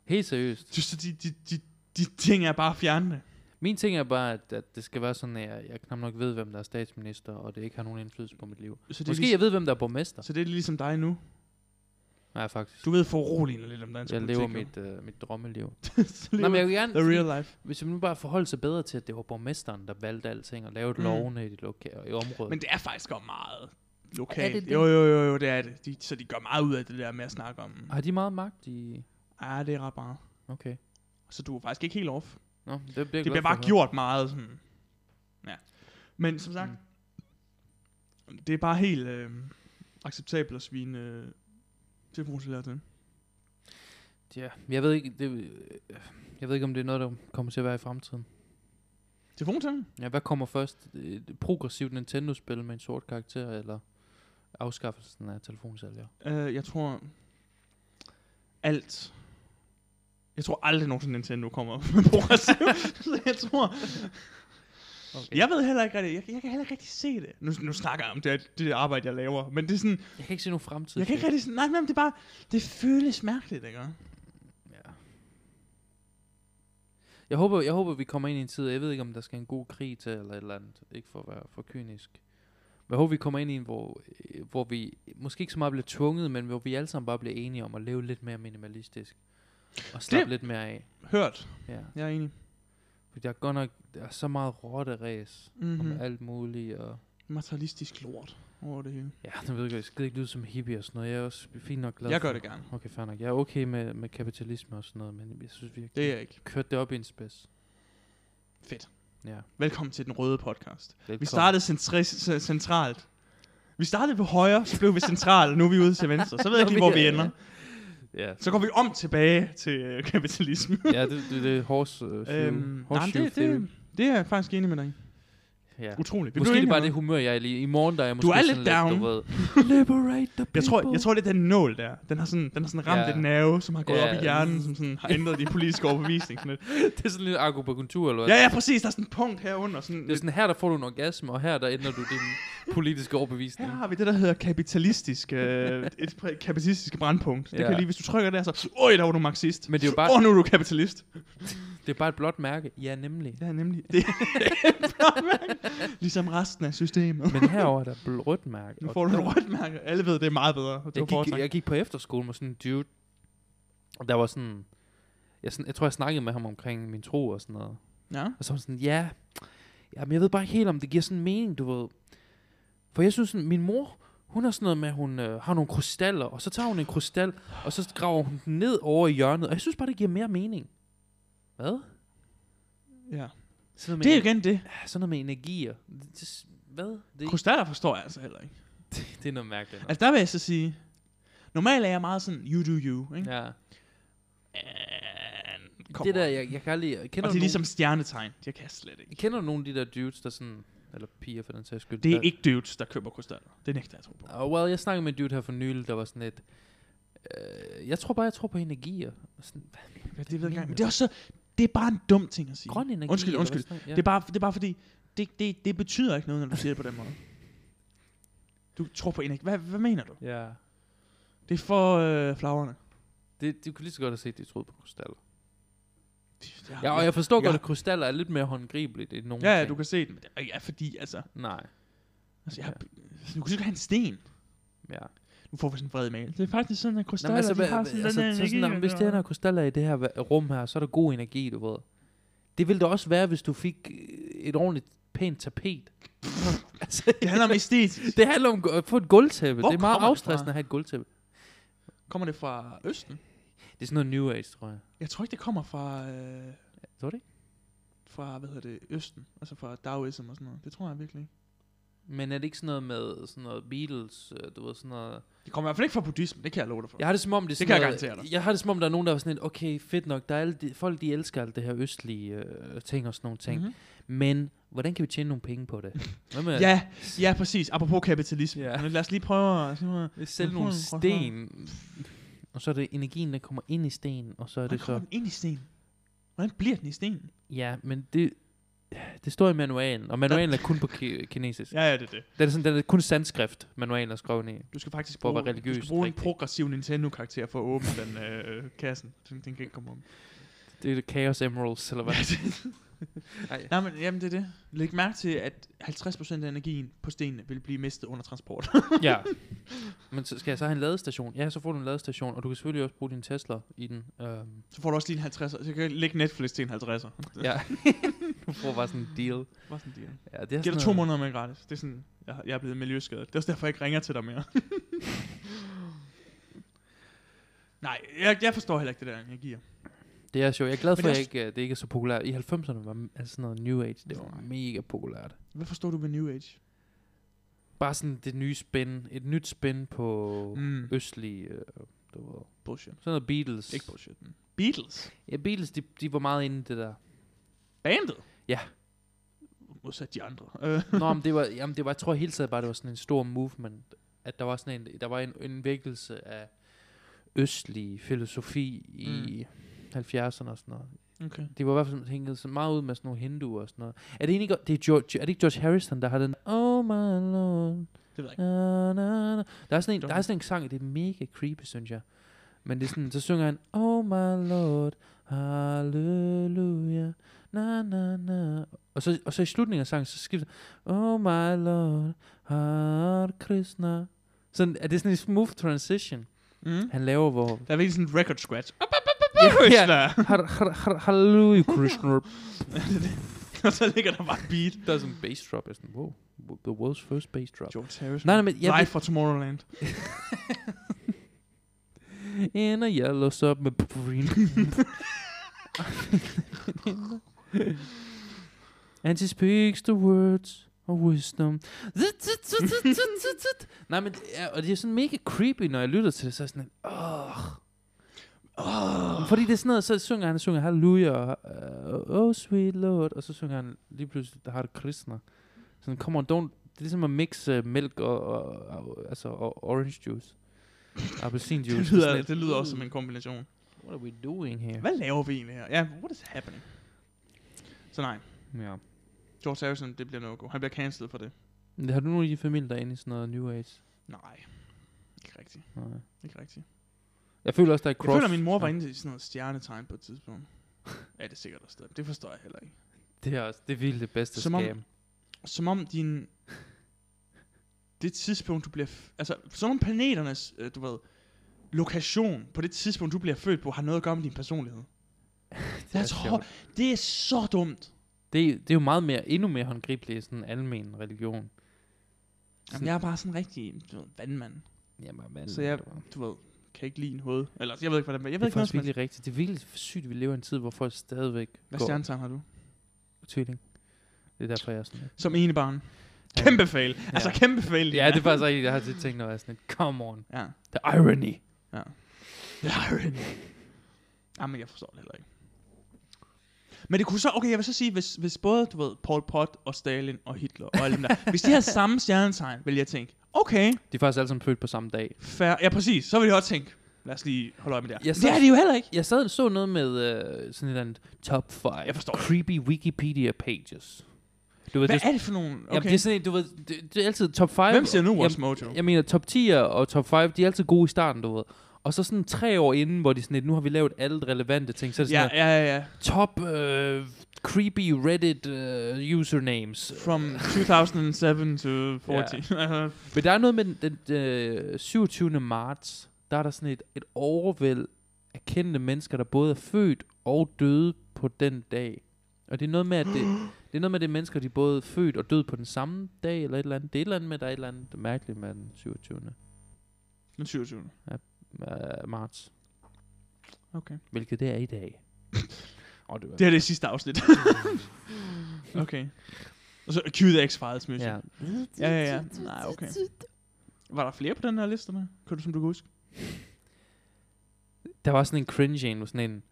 S1: Helt seriøst.
S2: Du, så de, de, de, de ting er bare fjernende.
S1: Min ting er bare, at, at det skal være sådan, at jeg, jeg knap nok ved, hvem der er statsminister, og det ikke har nogen indflydelse på mit liv.
S2: Så det,
S1: Måske jeg
S2: er ligesom,
S1: ved, hvem der er borgmester.
S2: så det er ligesom dig nu.
S1: Nej, faktisk.
S2: Du ved foruroligende lidt om dansk
S1: Jeg
S2: politik.
S1: lever
S2: jo.
S1: mit, øh, mit drømmeliv.
S2: Så
S1: Nej,
S2: lever
S1: men jeg vil
S2: The
S1: gerne,
S2: real life.
S1: hvis man nu bare forholder sig bedre til, at det var borgmesteren, der valgte alting, og lavede
S2: Mm.
S1: mm. lovene i, det lokale, i området.
S2: Men det er faktisk også meget lokalt.
S1: Er det det?
S2: Jo, jo, jo, jo, det er det. De, så de gør meget ud af det der med at snakke om,
S1: Har de meget magt i...
S2: ja, det er ret meget.
S1: Okay.
S2: Så du er faktisk ikke helt off.
S1: Nå, det bliver, jeg glad
S2: Det bliver
S1: for at
S2: bare
S1: høre.
S2: gjort meget sådan. Ja. Men som sagt, mm. det er bare helt øh, acceptabelt at svine øh, til brugselager til.
S1: Ja, jeg ved ikke, det, øh, jeg ved ikke, om det er noget, der kommer til at være i fremtiden.
S2: Telefon til dem?
S1: Ja, hvad kommer først? Et progressivt Nintendo-spil med en sort karakter, eller afskaffelsen af telefonsælger?
S2: Øh, jeg tror... Alt. Jeg tror aldrig nogensinde Nintendo kommer med progressiv. så jeg tror...
S1: Okay.
S2: Jeg ved heller ikke rigtig... Jeg, jeg kan heller ikke rigtig se det. Nu, nu snakker jeg om det, det arbejde, jeg laver. Men det er sådan...
S1: Jeg kan ikke se nogen fremtid.
S2: Jeg kan ikke rigtig... sådan- Nej, nej, men det er bare... Det føles mærkeligt, ikke?
S1: Ja. Jeg håber, jeg håber, vi kommer ind i en tid, jeg ved ikke, om der skal en god krig til, eller et eller andet, ikke for at være for kynisk. Men jeg håber, vi kommer ind i en, hvor, øh, hvor vi måske ikke så meget bliver tvunget, men hvor vi alle sammen bare bliver enige om at leve lidt mere minimalistisk. Og slappe lidt mere af.
S2: Hørt.
S1: Ja.
S2: Jeg er enig.
S1: Fordi der er godt nok der er så meget rotte-ræs mm-hmm.
S2: Mm-hmm.
S1: om alt muligt, og
S2: Materialistisk lort over det hele.
S1: Ja, det ved jeg godt. Jeg skal ikke lyde som hippie og sådan noget. Jeg er også fint nok glad
S2: Jeg
S1: for.
S2: gør det gerne.
S1: Okay, fair nok. Jeg er okay med, med kapitalisme og sådan noget, men jeg synes virkelig,
S2: Det er
S1: det
S2: jeg ikke.
S1: kørte det op i en spids.
S2: Fedt.
S1: Ja.
S2: Velkommen til den røde podcast.
S1: Velkommen.
S2: Vi startede centri- c- centralt. Vi startede på højre, så blev vi centralt, og nu er vi ude til venstre. Så ved jeg ikke lige, hvor vi ender.
S1: Ja,
S2: Så går vi om tilbage til øh, kapitalisme.
S1: ja det, det, det er horse, øh, øhm,
S2: øhm, nej, men det, det, det er jeg faktisk enig med dig i.
S1: ja.
S2: Utroligt. Vi
S1: Måske
S2: blev
S1: er det
S2: enige
S1: bare
S2: om
S1: det humør, jeg er lige. I morgen, der er jeg måske
S2: er lidt
S1: sådan lidt,
S2: down.
S1: du ved. Liberate the people.
S2: noget. jeg tror, jeg tror, det er den nål der. Den har sådan, den har sådan ramt
S1: Ja.
S2: yeah. et nerve, som har gået yeah. op
S1: Ja.
S2: i hjernen, som sådan har ændret din politiske overbevisning. Sådan lidt.
S1: det er sådan lidt akupunktur, eller hvad?
S2: Ja, ja, præcis. Der er sådan et punkt herunder. Sådan
S1: Det er
S2: lidt,
S1: sådan, her der får du en orgasme, og her der ændrer du din politiske overbevisning.
S2: her har vi det, der hedder kapitalistisk, øh, et præ- kapitalistisk brandpunkt. Det
S1: Ja.
S2: kan lige, hvis du trykker der, så, øj, der var du marxist.
S1: Men det er jo
S2: Åh,
S1: bare,
S2: oh, nu er du kapitalist.
S1: det er bare et blåt mærke. Ja, nemlig.
S2: Ja, nemlig. Det er ligesom resten af systemet.
S1: Men herover er der et rødt mærke.
S2: Nu
S1: og
S2: får du et rødt mærke. Alle ved, det er meget bedre. Det
S1: jeg
S2: var
S1: gik,
S2: foretrækket.
S1: jeg gik på efterskole med sådan en dude, og der var sådan jeg, sådan, jeg tror, jeg snakkede med ham omkring min tro og sådan noget.
S2: Ja.
S1: Og så var han sådan, ja, jamen, jeg ved bare ikke helt, om det giver sådan mening, du ved. For jeg synes sådan, min mor, hun har sådan noget med, at hun øh, har nogle krystaller, og så tager hun en krystal, og så graver hun den ned over i hjørnet, og jeg synes bare, det giver mere mening. Hvad?
S2: ja.
S1: Sådan noget med,
S2: Det er igen det.
S1: ja, sådan noget med energier. Det, det, hvad? Det,
S2: Krystaller forstår jeg altså heller ikke.
S1: det er noget mærkeligt. noget.
S2: Altså der vil jeg så sige, normalt er jeg meget sådan, you do you, ikke?
S1: Ja.
S2: And,
S1: Det der, jeg, jeg kan aldrig... Kender du
S2: Og det er
S1: nogen-
S2: ligesom stjernetegn. Jeg kan slet ikke.
S1: Kender du nogle af de der dudes, der sådan... Eller piger for den sags skyld.
S2: Det er
S1: der,
S2: ikke dudes, der køber krystaller. Det nægter jeg at tro på.
S1: Oh, well, jeg snakkede med en dude her for nylig, der var sådan et... Øh, jeg tror bare, jeg tror på energier. Og Sådan, hvad,
S2: Ja, det ved jeg ikke. Men det er også så, det er bare en dum ting at sige.
S1: grøn energi.
S2: undskyld,
S1: eller
S2: undskyld.
S1: hvad sådan noget,
S2: Ja. Det, er bare, det er bare fordi, det, det, det betyder ikke noget, når du siger det på den måde. Du tror på energi. Hvad, hvad mener du?
S1: Ja. ja.
S2: Det er for øh, flagrene.
S1: Det, du kunne lige så godt have set, at de troede på krystaller.
S2: Jeg,
S1: Ja, og jeg forstår
S2: Ah, Ja.
S1: ja. godt, at krystaller er lidt mere håndgribeligt end nogen
S2: ja, ja,
S1: ting.
S2: du kan se den. Men det er- Ja, fordi altså...
S1: Nej.
S2: altså jeg, har- Du kan sikkert have en sten.
S1: Ja.
S2: Nu får vi sådan en vred mail. Det er faktisk sådan, at
S1: Nå,
S2: krystaller,
S1: men altså, hvad,
S2: de har sådan
S1: altså,
S2: den der
S1: så
S2: energi.
S1: sådan,
S2: der-
S1: om, hvis det er der krystaller i det her va- rum her, så er der god energi, du ved. Det ville det også være, hvis du fik øh, et ordentligt pænt tapet. altså,
S2: Det handler om æstetisk.
S1: Det handler om gu- at få et guldtæppe.
S2: Hvor
S1: det er meget
S2: kommer det fra?
S1: afstressende at have et guldtæppe.
S2: Kommer det fra Østen?
S1: Det er sådan noget New Age, tror jeg.
S2: Jeg tror ikke, det kommer fra, øh,
S1: Tror du ikke?
S2: fra hvad hedder det, Østen. Altså fra Taoism og sådan noget. Det tror jeg virkelig ikke.
S1: Men er det ikke sådan noget med sådan noget Beatles, øh, du ved, sådan noget...
S2: Det kommer i hvert fald ikke fra buddhismen, det kan jeg love dig for.
S1: Jeg har det som om, det er
S2: Det
S1: sådan
S2: kan jeg
S1: noget,
S2: garantere dig.
S1: Jeg har det som om, der er nogen, der er sådan lidt, okay, fedt nok, der er alle de, folk, de elsker alt det her østlige øh, ting og sådan nogle ting. Mm-hmm.
S2: Mhm.
S1: Men, hvordan kan vi tjene nogle penge på det? Hvad med
S2: Ja, ja, præcis. Apropos kapitalisme.
S1: Ja.
S2: Ja. Men lad os lige prøve at... Og
S1: at sælge
S2: Mhm,
S1: nogle sten, og så er det energien, der kommer ind i sten, og så er
S2: det
S1: det
S2: kommer
S1: så...
S2: den ind i sten. Hvordan bliver den i sten?
S1: Ja, men det... Det står i manualen, og manualen er kun på ki- kinesisk.
S2: Ja, ja, det er det.
S1: Den er, sådan, den er kun sanskrift, manualen er skrevet ned.
S2: Du skal faktisk
S1: For at
S2: bruge,
S1: være
S2: du skal
S1: religiøst
S2: bruge en
S1: rigtig.
S2: progressiv Nintendo-karakter for at åbne den øh, kassen. Den, den kan ikke komme om.
S1: Det er det Chaos Emeralds, eller hvad? Ej.
S2: Nej, men jamen, det er det. Læg mærke til, at 50% af energien på stenene vil blive mistet under transport.
S1: ja. Men så skal jeg så have en ladestation? Ja, så får du en ladestation, og du kan selvfølgelig også bruge din Tesla i den. Øhm,
S2: så får du også lige en 50'er. Så kan jeg lægge Netflix til en 50'er.
S1: ja. du får bare sådan en deal.
S2: Bare sådan, de
S1: Ja, det er
S2: Giv
S1: sådan
S2: dig to
S1: noget-
S2: måneder med gratis. Det er sådan, jeg, har- jeg er blevet miljøskadet. Det er også derfor, jeg ikke ringer til dig mere. Nej, jeg, jeg forstår heller ikke det der, jeg giver.
S1: Det er sjovt. Jeg er glad
S2: Men
S1: for,
S2: det er
S1: at jeg ikke, øh, det ikke er så populært. I 90'erne var m- altså sådan noget New Age. Det var
S2: Nej.
S1: mega populært.
S2: Hvad forstår du ved New Age?
S1: Bare sådan det nye spin. Et nyt spin på
S2: Mm.
S1: østlige... Øh, du ved.
S2: Bullshit.
S1: Sådan noget Beatles.
S2: Ikke bullshit. men Beatles?
S1: Ja, Beatles, de, de var meget inde i det der.
S2: Bandet?
S1: Ja.
S2: Modsat de andre. Øh,
S1: Nå, men det var, jamen det var, jeg tror hele tiden bare, det var sådan en stor movement, at der var sådan en, der var en, en vækkelse af østlig filosofi i 70'erne og sådan noget.
S2: okay.
S1: Det var i hvert fald hænget så meget ud med sådan nogle hinduer og sådan noget. Er det egentlig godt, det er, George, er det ikke George Harrison, der har den, oh my lord,
S2: Det ved jeg ikke.
S1: na, na, na. Der er sådan en, der er
S2: Don't-
S1: sådan en sang, det er mega creepy, synes jeg. Men det er sådan, så synger han, oh my lord, halleluja, na na na. Og så, og så i slutningen af sangen, så skifter oh my lord, har Krishna. Sådan, er det sådan en smooth transition,
S2: Mm.
S1: han laver, hvor...
S2: Der er virkelig sådan en record scratch. Op, op, op, op,
S1: Ja,
S2: op,
S1: ja.
S2: Krishna!
S1: har- har- har- Halleluja, Krishna.
S2: Og så ligger der bare et beat.
S1: Der er sådan en bass drop, jeg er sådan, wow, the world's first bass drop.
S2: George Harrison.
S1: Nej, nej, men jeg,
S2: Live fra Tomorrowland.
S1: In a yellow submarine. And she speaks the words of wisdom. Zut, zut, zut, zut, zut, zut, zut. Nej, men det er, og det er sådan mega creepy, når jeg lytter til det, så er jeg sådan, lidt, åh.
S2: Oh.
S1: Fordi det er sådan noget, så synger han, synger halleluja, og, øh, oh sweet lord, og så synger han lige pludselig, der har det kristne. Sådan, come on, don't, det er ligesom at mixe uh, mælk og, og, og, altså, og orange juice. Appelsinjuice.
S2: Det
S1: Sådan
S2: lyder,
S1: lidt,
S2: det lyder også som
S1: "Ooh,
S2: en kombination.
S1: What are we doing here?
S2: Hvad laver vi egentlig her? Ja, what is happening? Så nej,
S1: Ja.
S2: George Harrison, det bliver no-go. Han bliver cancelled for det.
S1: Men Har du nogen i din familie, der er inde i sådan noget New Age?
S2: Nej, ikke rigtigt.
S1: Nej.
S2: Ikke rigtigt.
S1: Jeg føler også, der er
S2: Jeg
S1: cross.
S2: føler, at min mor var
S1: Ja.
S2: inde i sådan noget stjernetegn på et tidspunkt. Ja, det er sikkert også det. Det forstår jeg heller ikke.
S1: Det er også, det er virkelig det bedste
S2: Som om-
S1: scam.
S2: Som om din... Det tidspunkt, du bliver... F- altså, som om planeternes, øh, du ved, lokation på det tidspunkt, du bliver født på, har noget at gøre med din personlighed.
S1: det,
S2: Jeg
S1: er
S2: tror-
S1: sjovt.
S2: Det er så dumt.
S1: det, det er jo meget mere, endnu mere håndgribeligt i sådan en almen religion.
S2: Jamen, jeg er bare sådan rigtig, du ved, vandmand.
S1: Jamen, man,
S2: Så jeg-
S1: det var-
S2: Du ved, kan ikke lide en hoved. Eller, jeg ved ikke, hvordan... Jeg
S1: det
S2: ved
S1: er
S2: ikke, noget
S1: faktisk
S2: som helst.
S1: virkelig rigtigt. Det er virkelig sygt, at vi lever i en tid, hvor folk stadigvæk
S2: Hvad
S1: går
S2: stjernetegn har du?
S1: tvilling. Det er derfor, jeg er sådan lidt.
S2: Som ene barn. Kæmpe fail. Altså, kæmpe fail.
S1: Ja, det er faktisk rigtigt. Jeg har tit tænkt, når jeg er sådan lidt, come on,
S2: Ja.
S1: the irony.
S2: Ja. Lauren. Jamen, jeg forstår det heller ikke. Men det kunne så, okay, jeg vil så sige, hvis, hvis både, du ved, Paul Pot og Stalin og Hitler og alle dem der, hvis de havde samme stjernetegn, ville jeg tænke, okay,
S1: De er faktisk alle sammen født på samme dag.
S2: fair, ja præcis, så ville jeg også tænke, lad os lige holde øje med det her.
S1: Jeg
S2: det
S1: så-
S2: er de jo heller ikke.
S1: Jeg sad og så noget med øh, sådan et eller andet top 5
S2: Jeg forstår det.
S1: creepy Wikipedia pages. Du ved,
S2: Hvad
S1: det,
S2: er det for nogle,
S1: Jamen,
S2: okay,
S1: det er sådan, en, du ved, det, det er altid top 5.
S2: hvem ser nu
S1: jeg,
S2: Watch Mojo?
S1: jeg mener, top 10'er og top 5, de er altid gode i starten, du ved. Og så sådan tre år inden, hvor de sådan lidt, nu har vi lavet alle relevante ting, så er det
S2: Ja,
S1: sådan ja.
S2: ja, ja, ja.
S1: top øh, creepy Reddit øh, usernames.
S2: From 2007 to 40. Ja.
S1: Men der er noget med den, den, øh, 27. marts, der er der sådan et, et overvæld af kendte mennesker, der både er født og døde på den dag. Og det er noget med, at det, det er noget med, at det er mennesker, de er både født og døde på den samme dag, eller et eller andet. Det er et eller andet med, at der er et eller andet mærkeligt med den 27.
S2: Den 27.
S1: Uh, marts.
S2: Okay.
S1: øh, hvilket det er i dag. og det var...
S2: Det her det er sidste afsnit. okay. Og så Cue the X-Files music.
S1: ja.
S2: Ja, ja, ja. Nej, okay. Var der flere på den her liste med? Kan du, som du kan huske?
S1: Der var sådan en cringe en, med sådan en,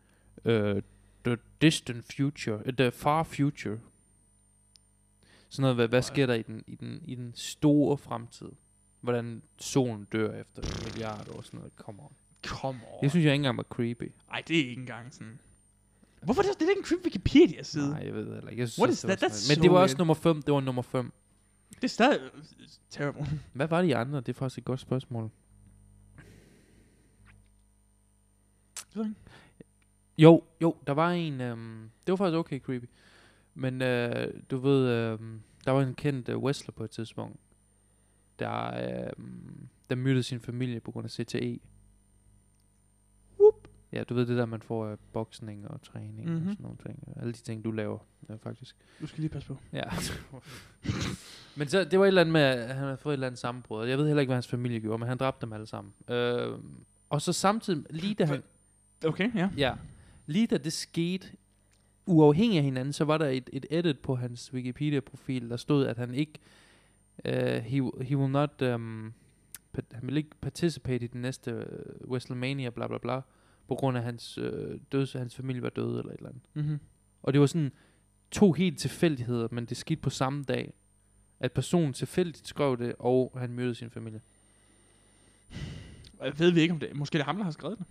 S1: øh, the distant future, øh, the far future. Sådan noget, hvad, hvad
S2: Nej.
S1: sker der i den, i, den, i den store fremtid? Hvordan solen dør efter en milliard år, sådan noget, come on.
S2: Kom over.
S1: Det synes jeg ikke engang var creepy.
S2: Ej, det er ikke engang sådan... Hvorfor er det, det er ikke en creepy Wikipedia-side?
S1: Nej, jeg ved det heller ikke. Jeg synes,
S2: What
S1: også,
S2: is
S1: det var
S2: that?
S1: sådan
S2: That's
S1: noget. Men
S2: so
S1: det var
S2: weird.
S1: også nummer 5, det var nummer 5.
S2: Det er stadig øh, terrible.
S1: Hvad var de andre? Det er faktisk et godt spørgsmål.
S2: ved jeg ikke.
S1: Jo, jo, der var en, øhm, det var faktisk okay creepy. Men øh, du ved, øhm, der var en kendt øh, wrestler på et tidspunkt, der, øhm, der myrdede sin familie på grund af CTE.
S2: Whoop.
S1: Ja, du ved det der, man får øh, boksning og træning mm-hmm.
S2: Mhm.
S1: og sådan nogle ting. Alle de ting, du laver, ja, faktisk.
S2: Du skal lige passe på.
S1: Ja. men så, det var et eller andet med, at han havde fået et eller andet sammenbrud. Jeg ved heller ikke, hvad hans familie gjorde, men han dræbte dem alle sammen. Øh, og så samtidig, lige da han,
S2: Okay, ja.
S1: Ja. Lige da det skete, uafhængig af hinanden, så var der et, et edit på hans Wikipedia-profil, der stod, at han ikke... Uh, he, he will not... Um, pa- han vil ikke participate i den næste uh, WrestleMania, bla bla bla, på grund af hans uh, døds, hans familie var døde eller et eller andet.
S2: Mm-hmm.
S1: Og det var sådan to helt tilfældigheder, men det skete på samme dag, at personen tilfældigt skrev det, og han myrdede sin familie.
S2: Jeg ved vi ikke, om det Måske det er ham, der har skrevet det.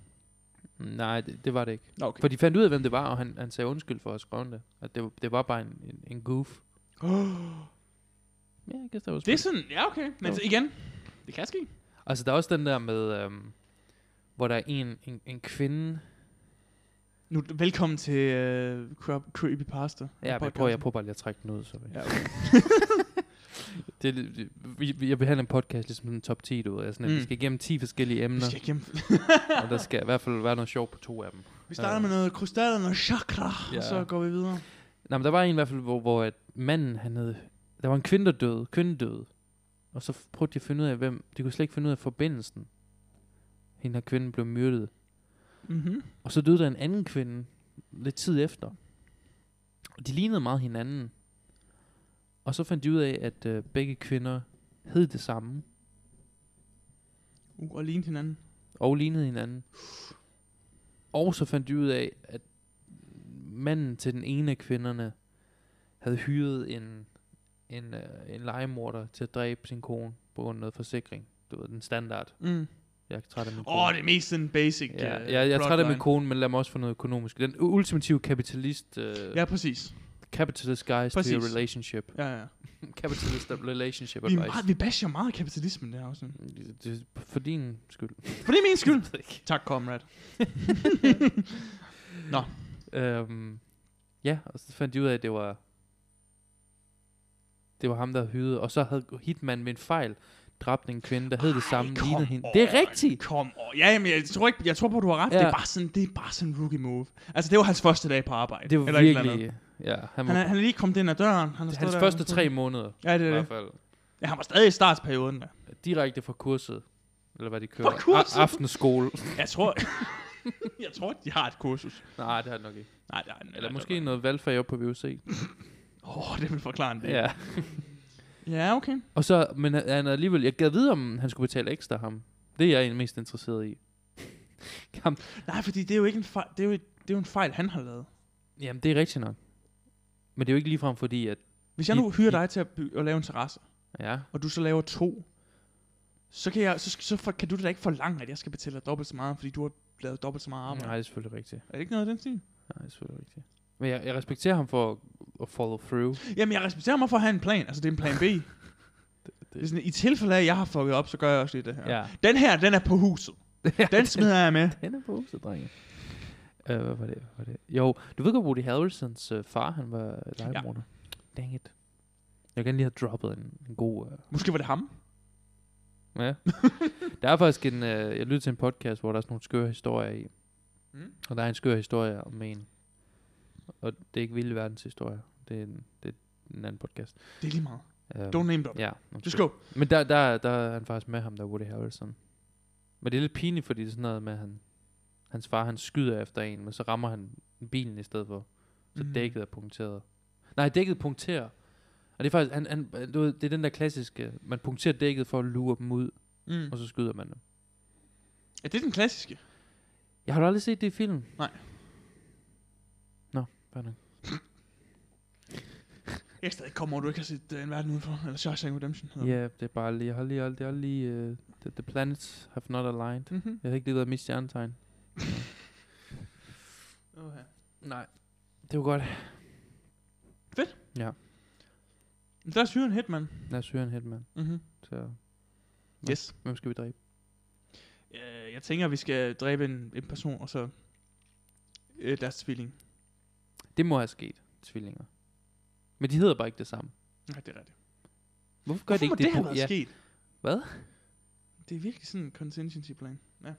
S1: Nej, det, det var det ikke.
S2: Nå, okay.
S1: For de fandt ud af, hvem det var, og han, han sagde undskyld for at skrive det. At det, var- det var bare en, en, en goof.
S2: Oh,
S1: Ja, jeg guess that was
S2: det er
S1: pretty-
S2: sådan... Ja, okay. Men
S1: Jo.
S2: så igen, det kan ske.
S1: Altså, der er også den der med, øhm, hvor der er en, en, en kvinde...
S2: Nu, velkommen til uh, Creepypasta.
S1: Ja, jeg prøver, jeg prøver bare lige at trække den ud, så
S2: Ja,
S1: ja. det, er lidt- det, vi, vi- jeg behandler en podcast ligesom sådan en top 10, du ved. Altså, mm.
S2: Mm.
S1: Vi skal igennem 10 forskellige
S2: Vi
S1: emner,
S2: skal igennem.
S1: og der skal i hvert fald være noget sjovt på to af dem.
S2: Vi starter med noget krystaller, noget chakra, ja. og
S1: Ja.
S2: så går vi videre.
S1: Nej, men der var en i hvert fald, hvor, hvor at manden, han havde... Der var en kvinde, der døde. Kvinden døde. Og så f- prøvede de at finde ud af, hvem... De kunne slet ikke finde ud af forbindelsen. Hende her kvinden blev myrdet.
S2: Mm-hmm.
S1: Og så døde der en anden kvinde lidt tid efter. Og de lignede meget hinanden. Og så fandt de ud af, at øh, begge kvinder hed det samme,
S2: Uh, og lignede hinanden.
S1: og lignede hinanden. Og så fandt de ud af, at manden til den ene af kvinderne havde hyret en, en, øh, en legemorder til at dræbe sin kone på grund af noget forsikring. Du ved, den standard.
S2: Åh, mm.
S1: Jeg er træt af min kone.
S2: oh, det er mest sådan basic
S1: Ja,
S2: øh,
S1: jeg, jeg er træt af min
S2: plotline.
S1: kone, men lad mig også få noget økonomisk. Den ultimative kapitalist... Øh,
S2: Ja, præcis.
S1: Capitalist guys Præcis. to your
S2: Præcis.
S1: relationship.
S2: Ja, ja.
S1: Capitalist relationship
S2: Vi, er
S1: advice.
S2: meget, vi basher meget kapitalismen, det her afsnit.
S1: Det- det- For din skyld.
S2: For det er min skyld.
S1: Jeg ved ikke.
S2: tak, comrade.
S1: øhm, ja, og så fandt de ud af, at det var... Det var ham, der hyrede. Og så havde Hitman ved en fejl dræbt en kvinde, der hed det samme.
S2: Ej, kom
S1: lignede hende.
S2: on,
S1: Det er rigtigt!
S2: Kom over. Ja, jamen, jeg tror, ikke, jeg tror på, du har ret.
S1: Ja.
S2: Ja. Det, er bare sådan, det er bare sådan en rookie move. Altså, det var hans første dag på arbejde.
S1: Det var
S2: et eller andet.
S1: virkelig... Ja, han, var,
S2: Han er, han er lige kommet ind ad døren. Han har
S1: hans
S2: stået der,
S1: første
S2: han stod-
S1: tre måneder,
S2: Ja, det
S1: i
S2: er
S1: hvert
S2: det.
S1: fald.
S2: Ja, han var stadig i startsperioden. Da.
S1: Direkte fra kurset. Eller hvad de kører.
S2: Fra kurset?
S1: A- aftenskole.
S2: Jeg tror... jeg tror, de har et kursus.
S1: Nej, det har det nok ikke.
S2: Nej, nej, nej
S1: Eller måske noget valgfag op på VUC.
S2: Åh, oh, det vil forklare en del.
S1: Ja.
S2: ja okay.
S1: Og så, men han han er alligevel, jeg gad vide, om han skulle betale ekstra ham. Det er jeg egentlig mest interesseret i. Ham.
S2: Nej, fordi det er jo ikke en fejl. Det er jo, det er jo en fejl, han har lavet.
S1: Jamen, det er rigtigt nok. Men det er jo ikke ligefrem fordi, at...
S2: Hvis jeg
S1: I-
S2: nu hyrer
S1: I-
S2: dig til at, by- at lave en terrasse,
S1: Ja,
S2: og du så laver to, så kan, jeg, så, sk- så for, kan du da ikke forlange, at jeg skal betale dig dobbelt så meget, fordi du har lavet dobbelt så meget arbejde.
S1: nej, det er selvfølgelig rigtigt.
S2: Er det ikke noget af den stil?
S1: Nej, det er selvfølgelig rigtigt. Men jeg, jeg respekterer ham for at, at follow through.
S2: Jamen, jeg respekterer mig for at have en plan. Altså, det er en plan B. det, det. er sådan, i tilfælde af, at jeg har fucket op, så gør jeg også lige det her.
S1: Ja.
S2: Den her, den er på huset. Den smider jeg med.
S1: Den er på huset, drenge. Uh, hvad var det? Hvad var det? Jo, du ved godt, Woody Harrelsons uh, far, han var legemorder. Ja. Dang it. Jeg kan lige have droppet en, en god... Uh,
S2: Måske var det ham.
S1: Ja. der er faktisk en, øh, jeg lytter til en podcast, hvor der er sådan nogle skøre historier i. Mm.
S2: Mm.
S1: Og der er en skør historie om en. Og det er ikke vilde verdens historie. Det er en, det er en anden podcast.
S2: Det er lige meget.
S1: Um,
S2: Don't name drop.
S1: Ja.
S2: Just go.
S1: Men der, der, der er han faktisk med ham, der er Woody Harrelson. Men det er lidt pinligt, fordi det er sådan noget med, at han Hans far, han skyder efter en, men så rammer han bilen i stedet for. Så
S2: Mhm.
S1: mm. dækket er punkteret. Nej, dækket punkterer. Og det er faktisk, han, han, du ved, det er den der klassiske, man punkterer dækket for at lure dem ud,
S2: Mm.
S1: og så skyder man dem.
S2: Ja, det er den klassiske.
S1: Jeg har da aldrig set det i film.
S2: Nej.
S1: Nå, fair nok.
S2: Jeg er stadig kommet over, du ikke har set uh, En Verden Udenfor, eller Shawshank Redemption
S1: Ja,
S2: hedder
S1: yeah, det er bare lige, jeg har lige, jeg har lige, uh, the, the planets have not aligned.
S2: den. Mhm.
S1: Jeg har ikke lige været mit stjernetegn.
S2: Okay.
S1: Nej, det var godt.
S2: Men Der er syren Hitman.
S1: Lad os høre en hitman.
S2: Mm-hmm.
S1: Så Nå.
S2: Yes.
S1: hvem skal vi dræbe?
S2: Øh, jeg tænker, vi skal dræbe en, en person, og så øh, deres tvilling.
S1: Det må have sket, tvillinger. Men de hedder bare ikke det samme.
S2: Nej, det er rigtigt.
S1: Hvorfor gør
S2: Hvorfor
S1: de
S2: må
S1: ikke
S2: det, det
S1: på-
S2: have været
S1: ja.
S2: sket?
S1: Hvad?
S2: Det er virkelig sådan en contingency plan. Ja.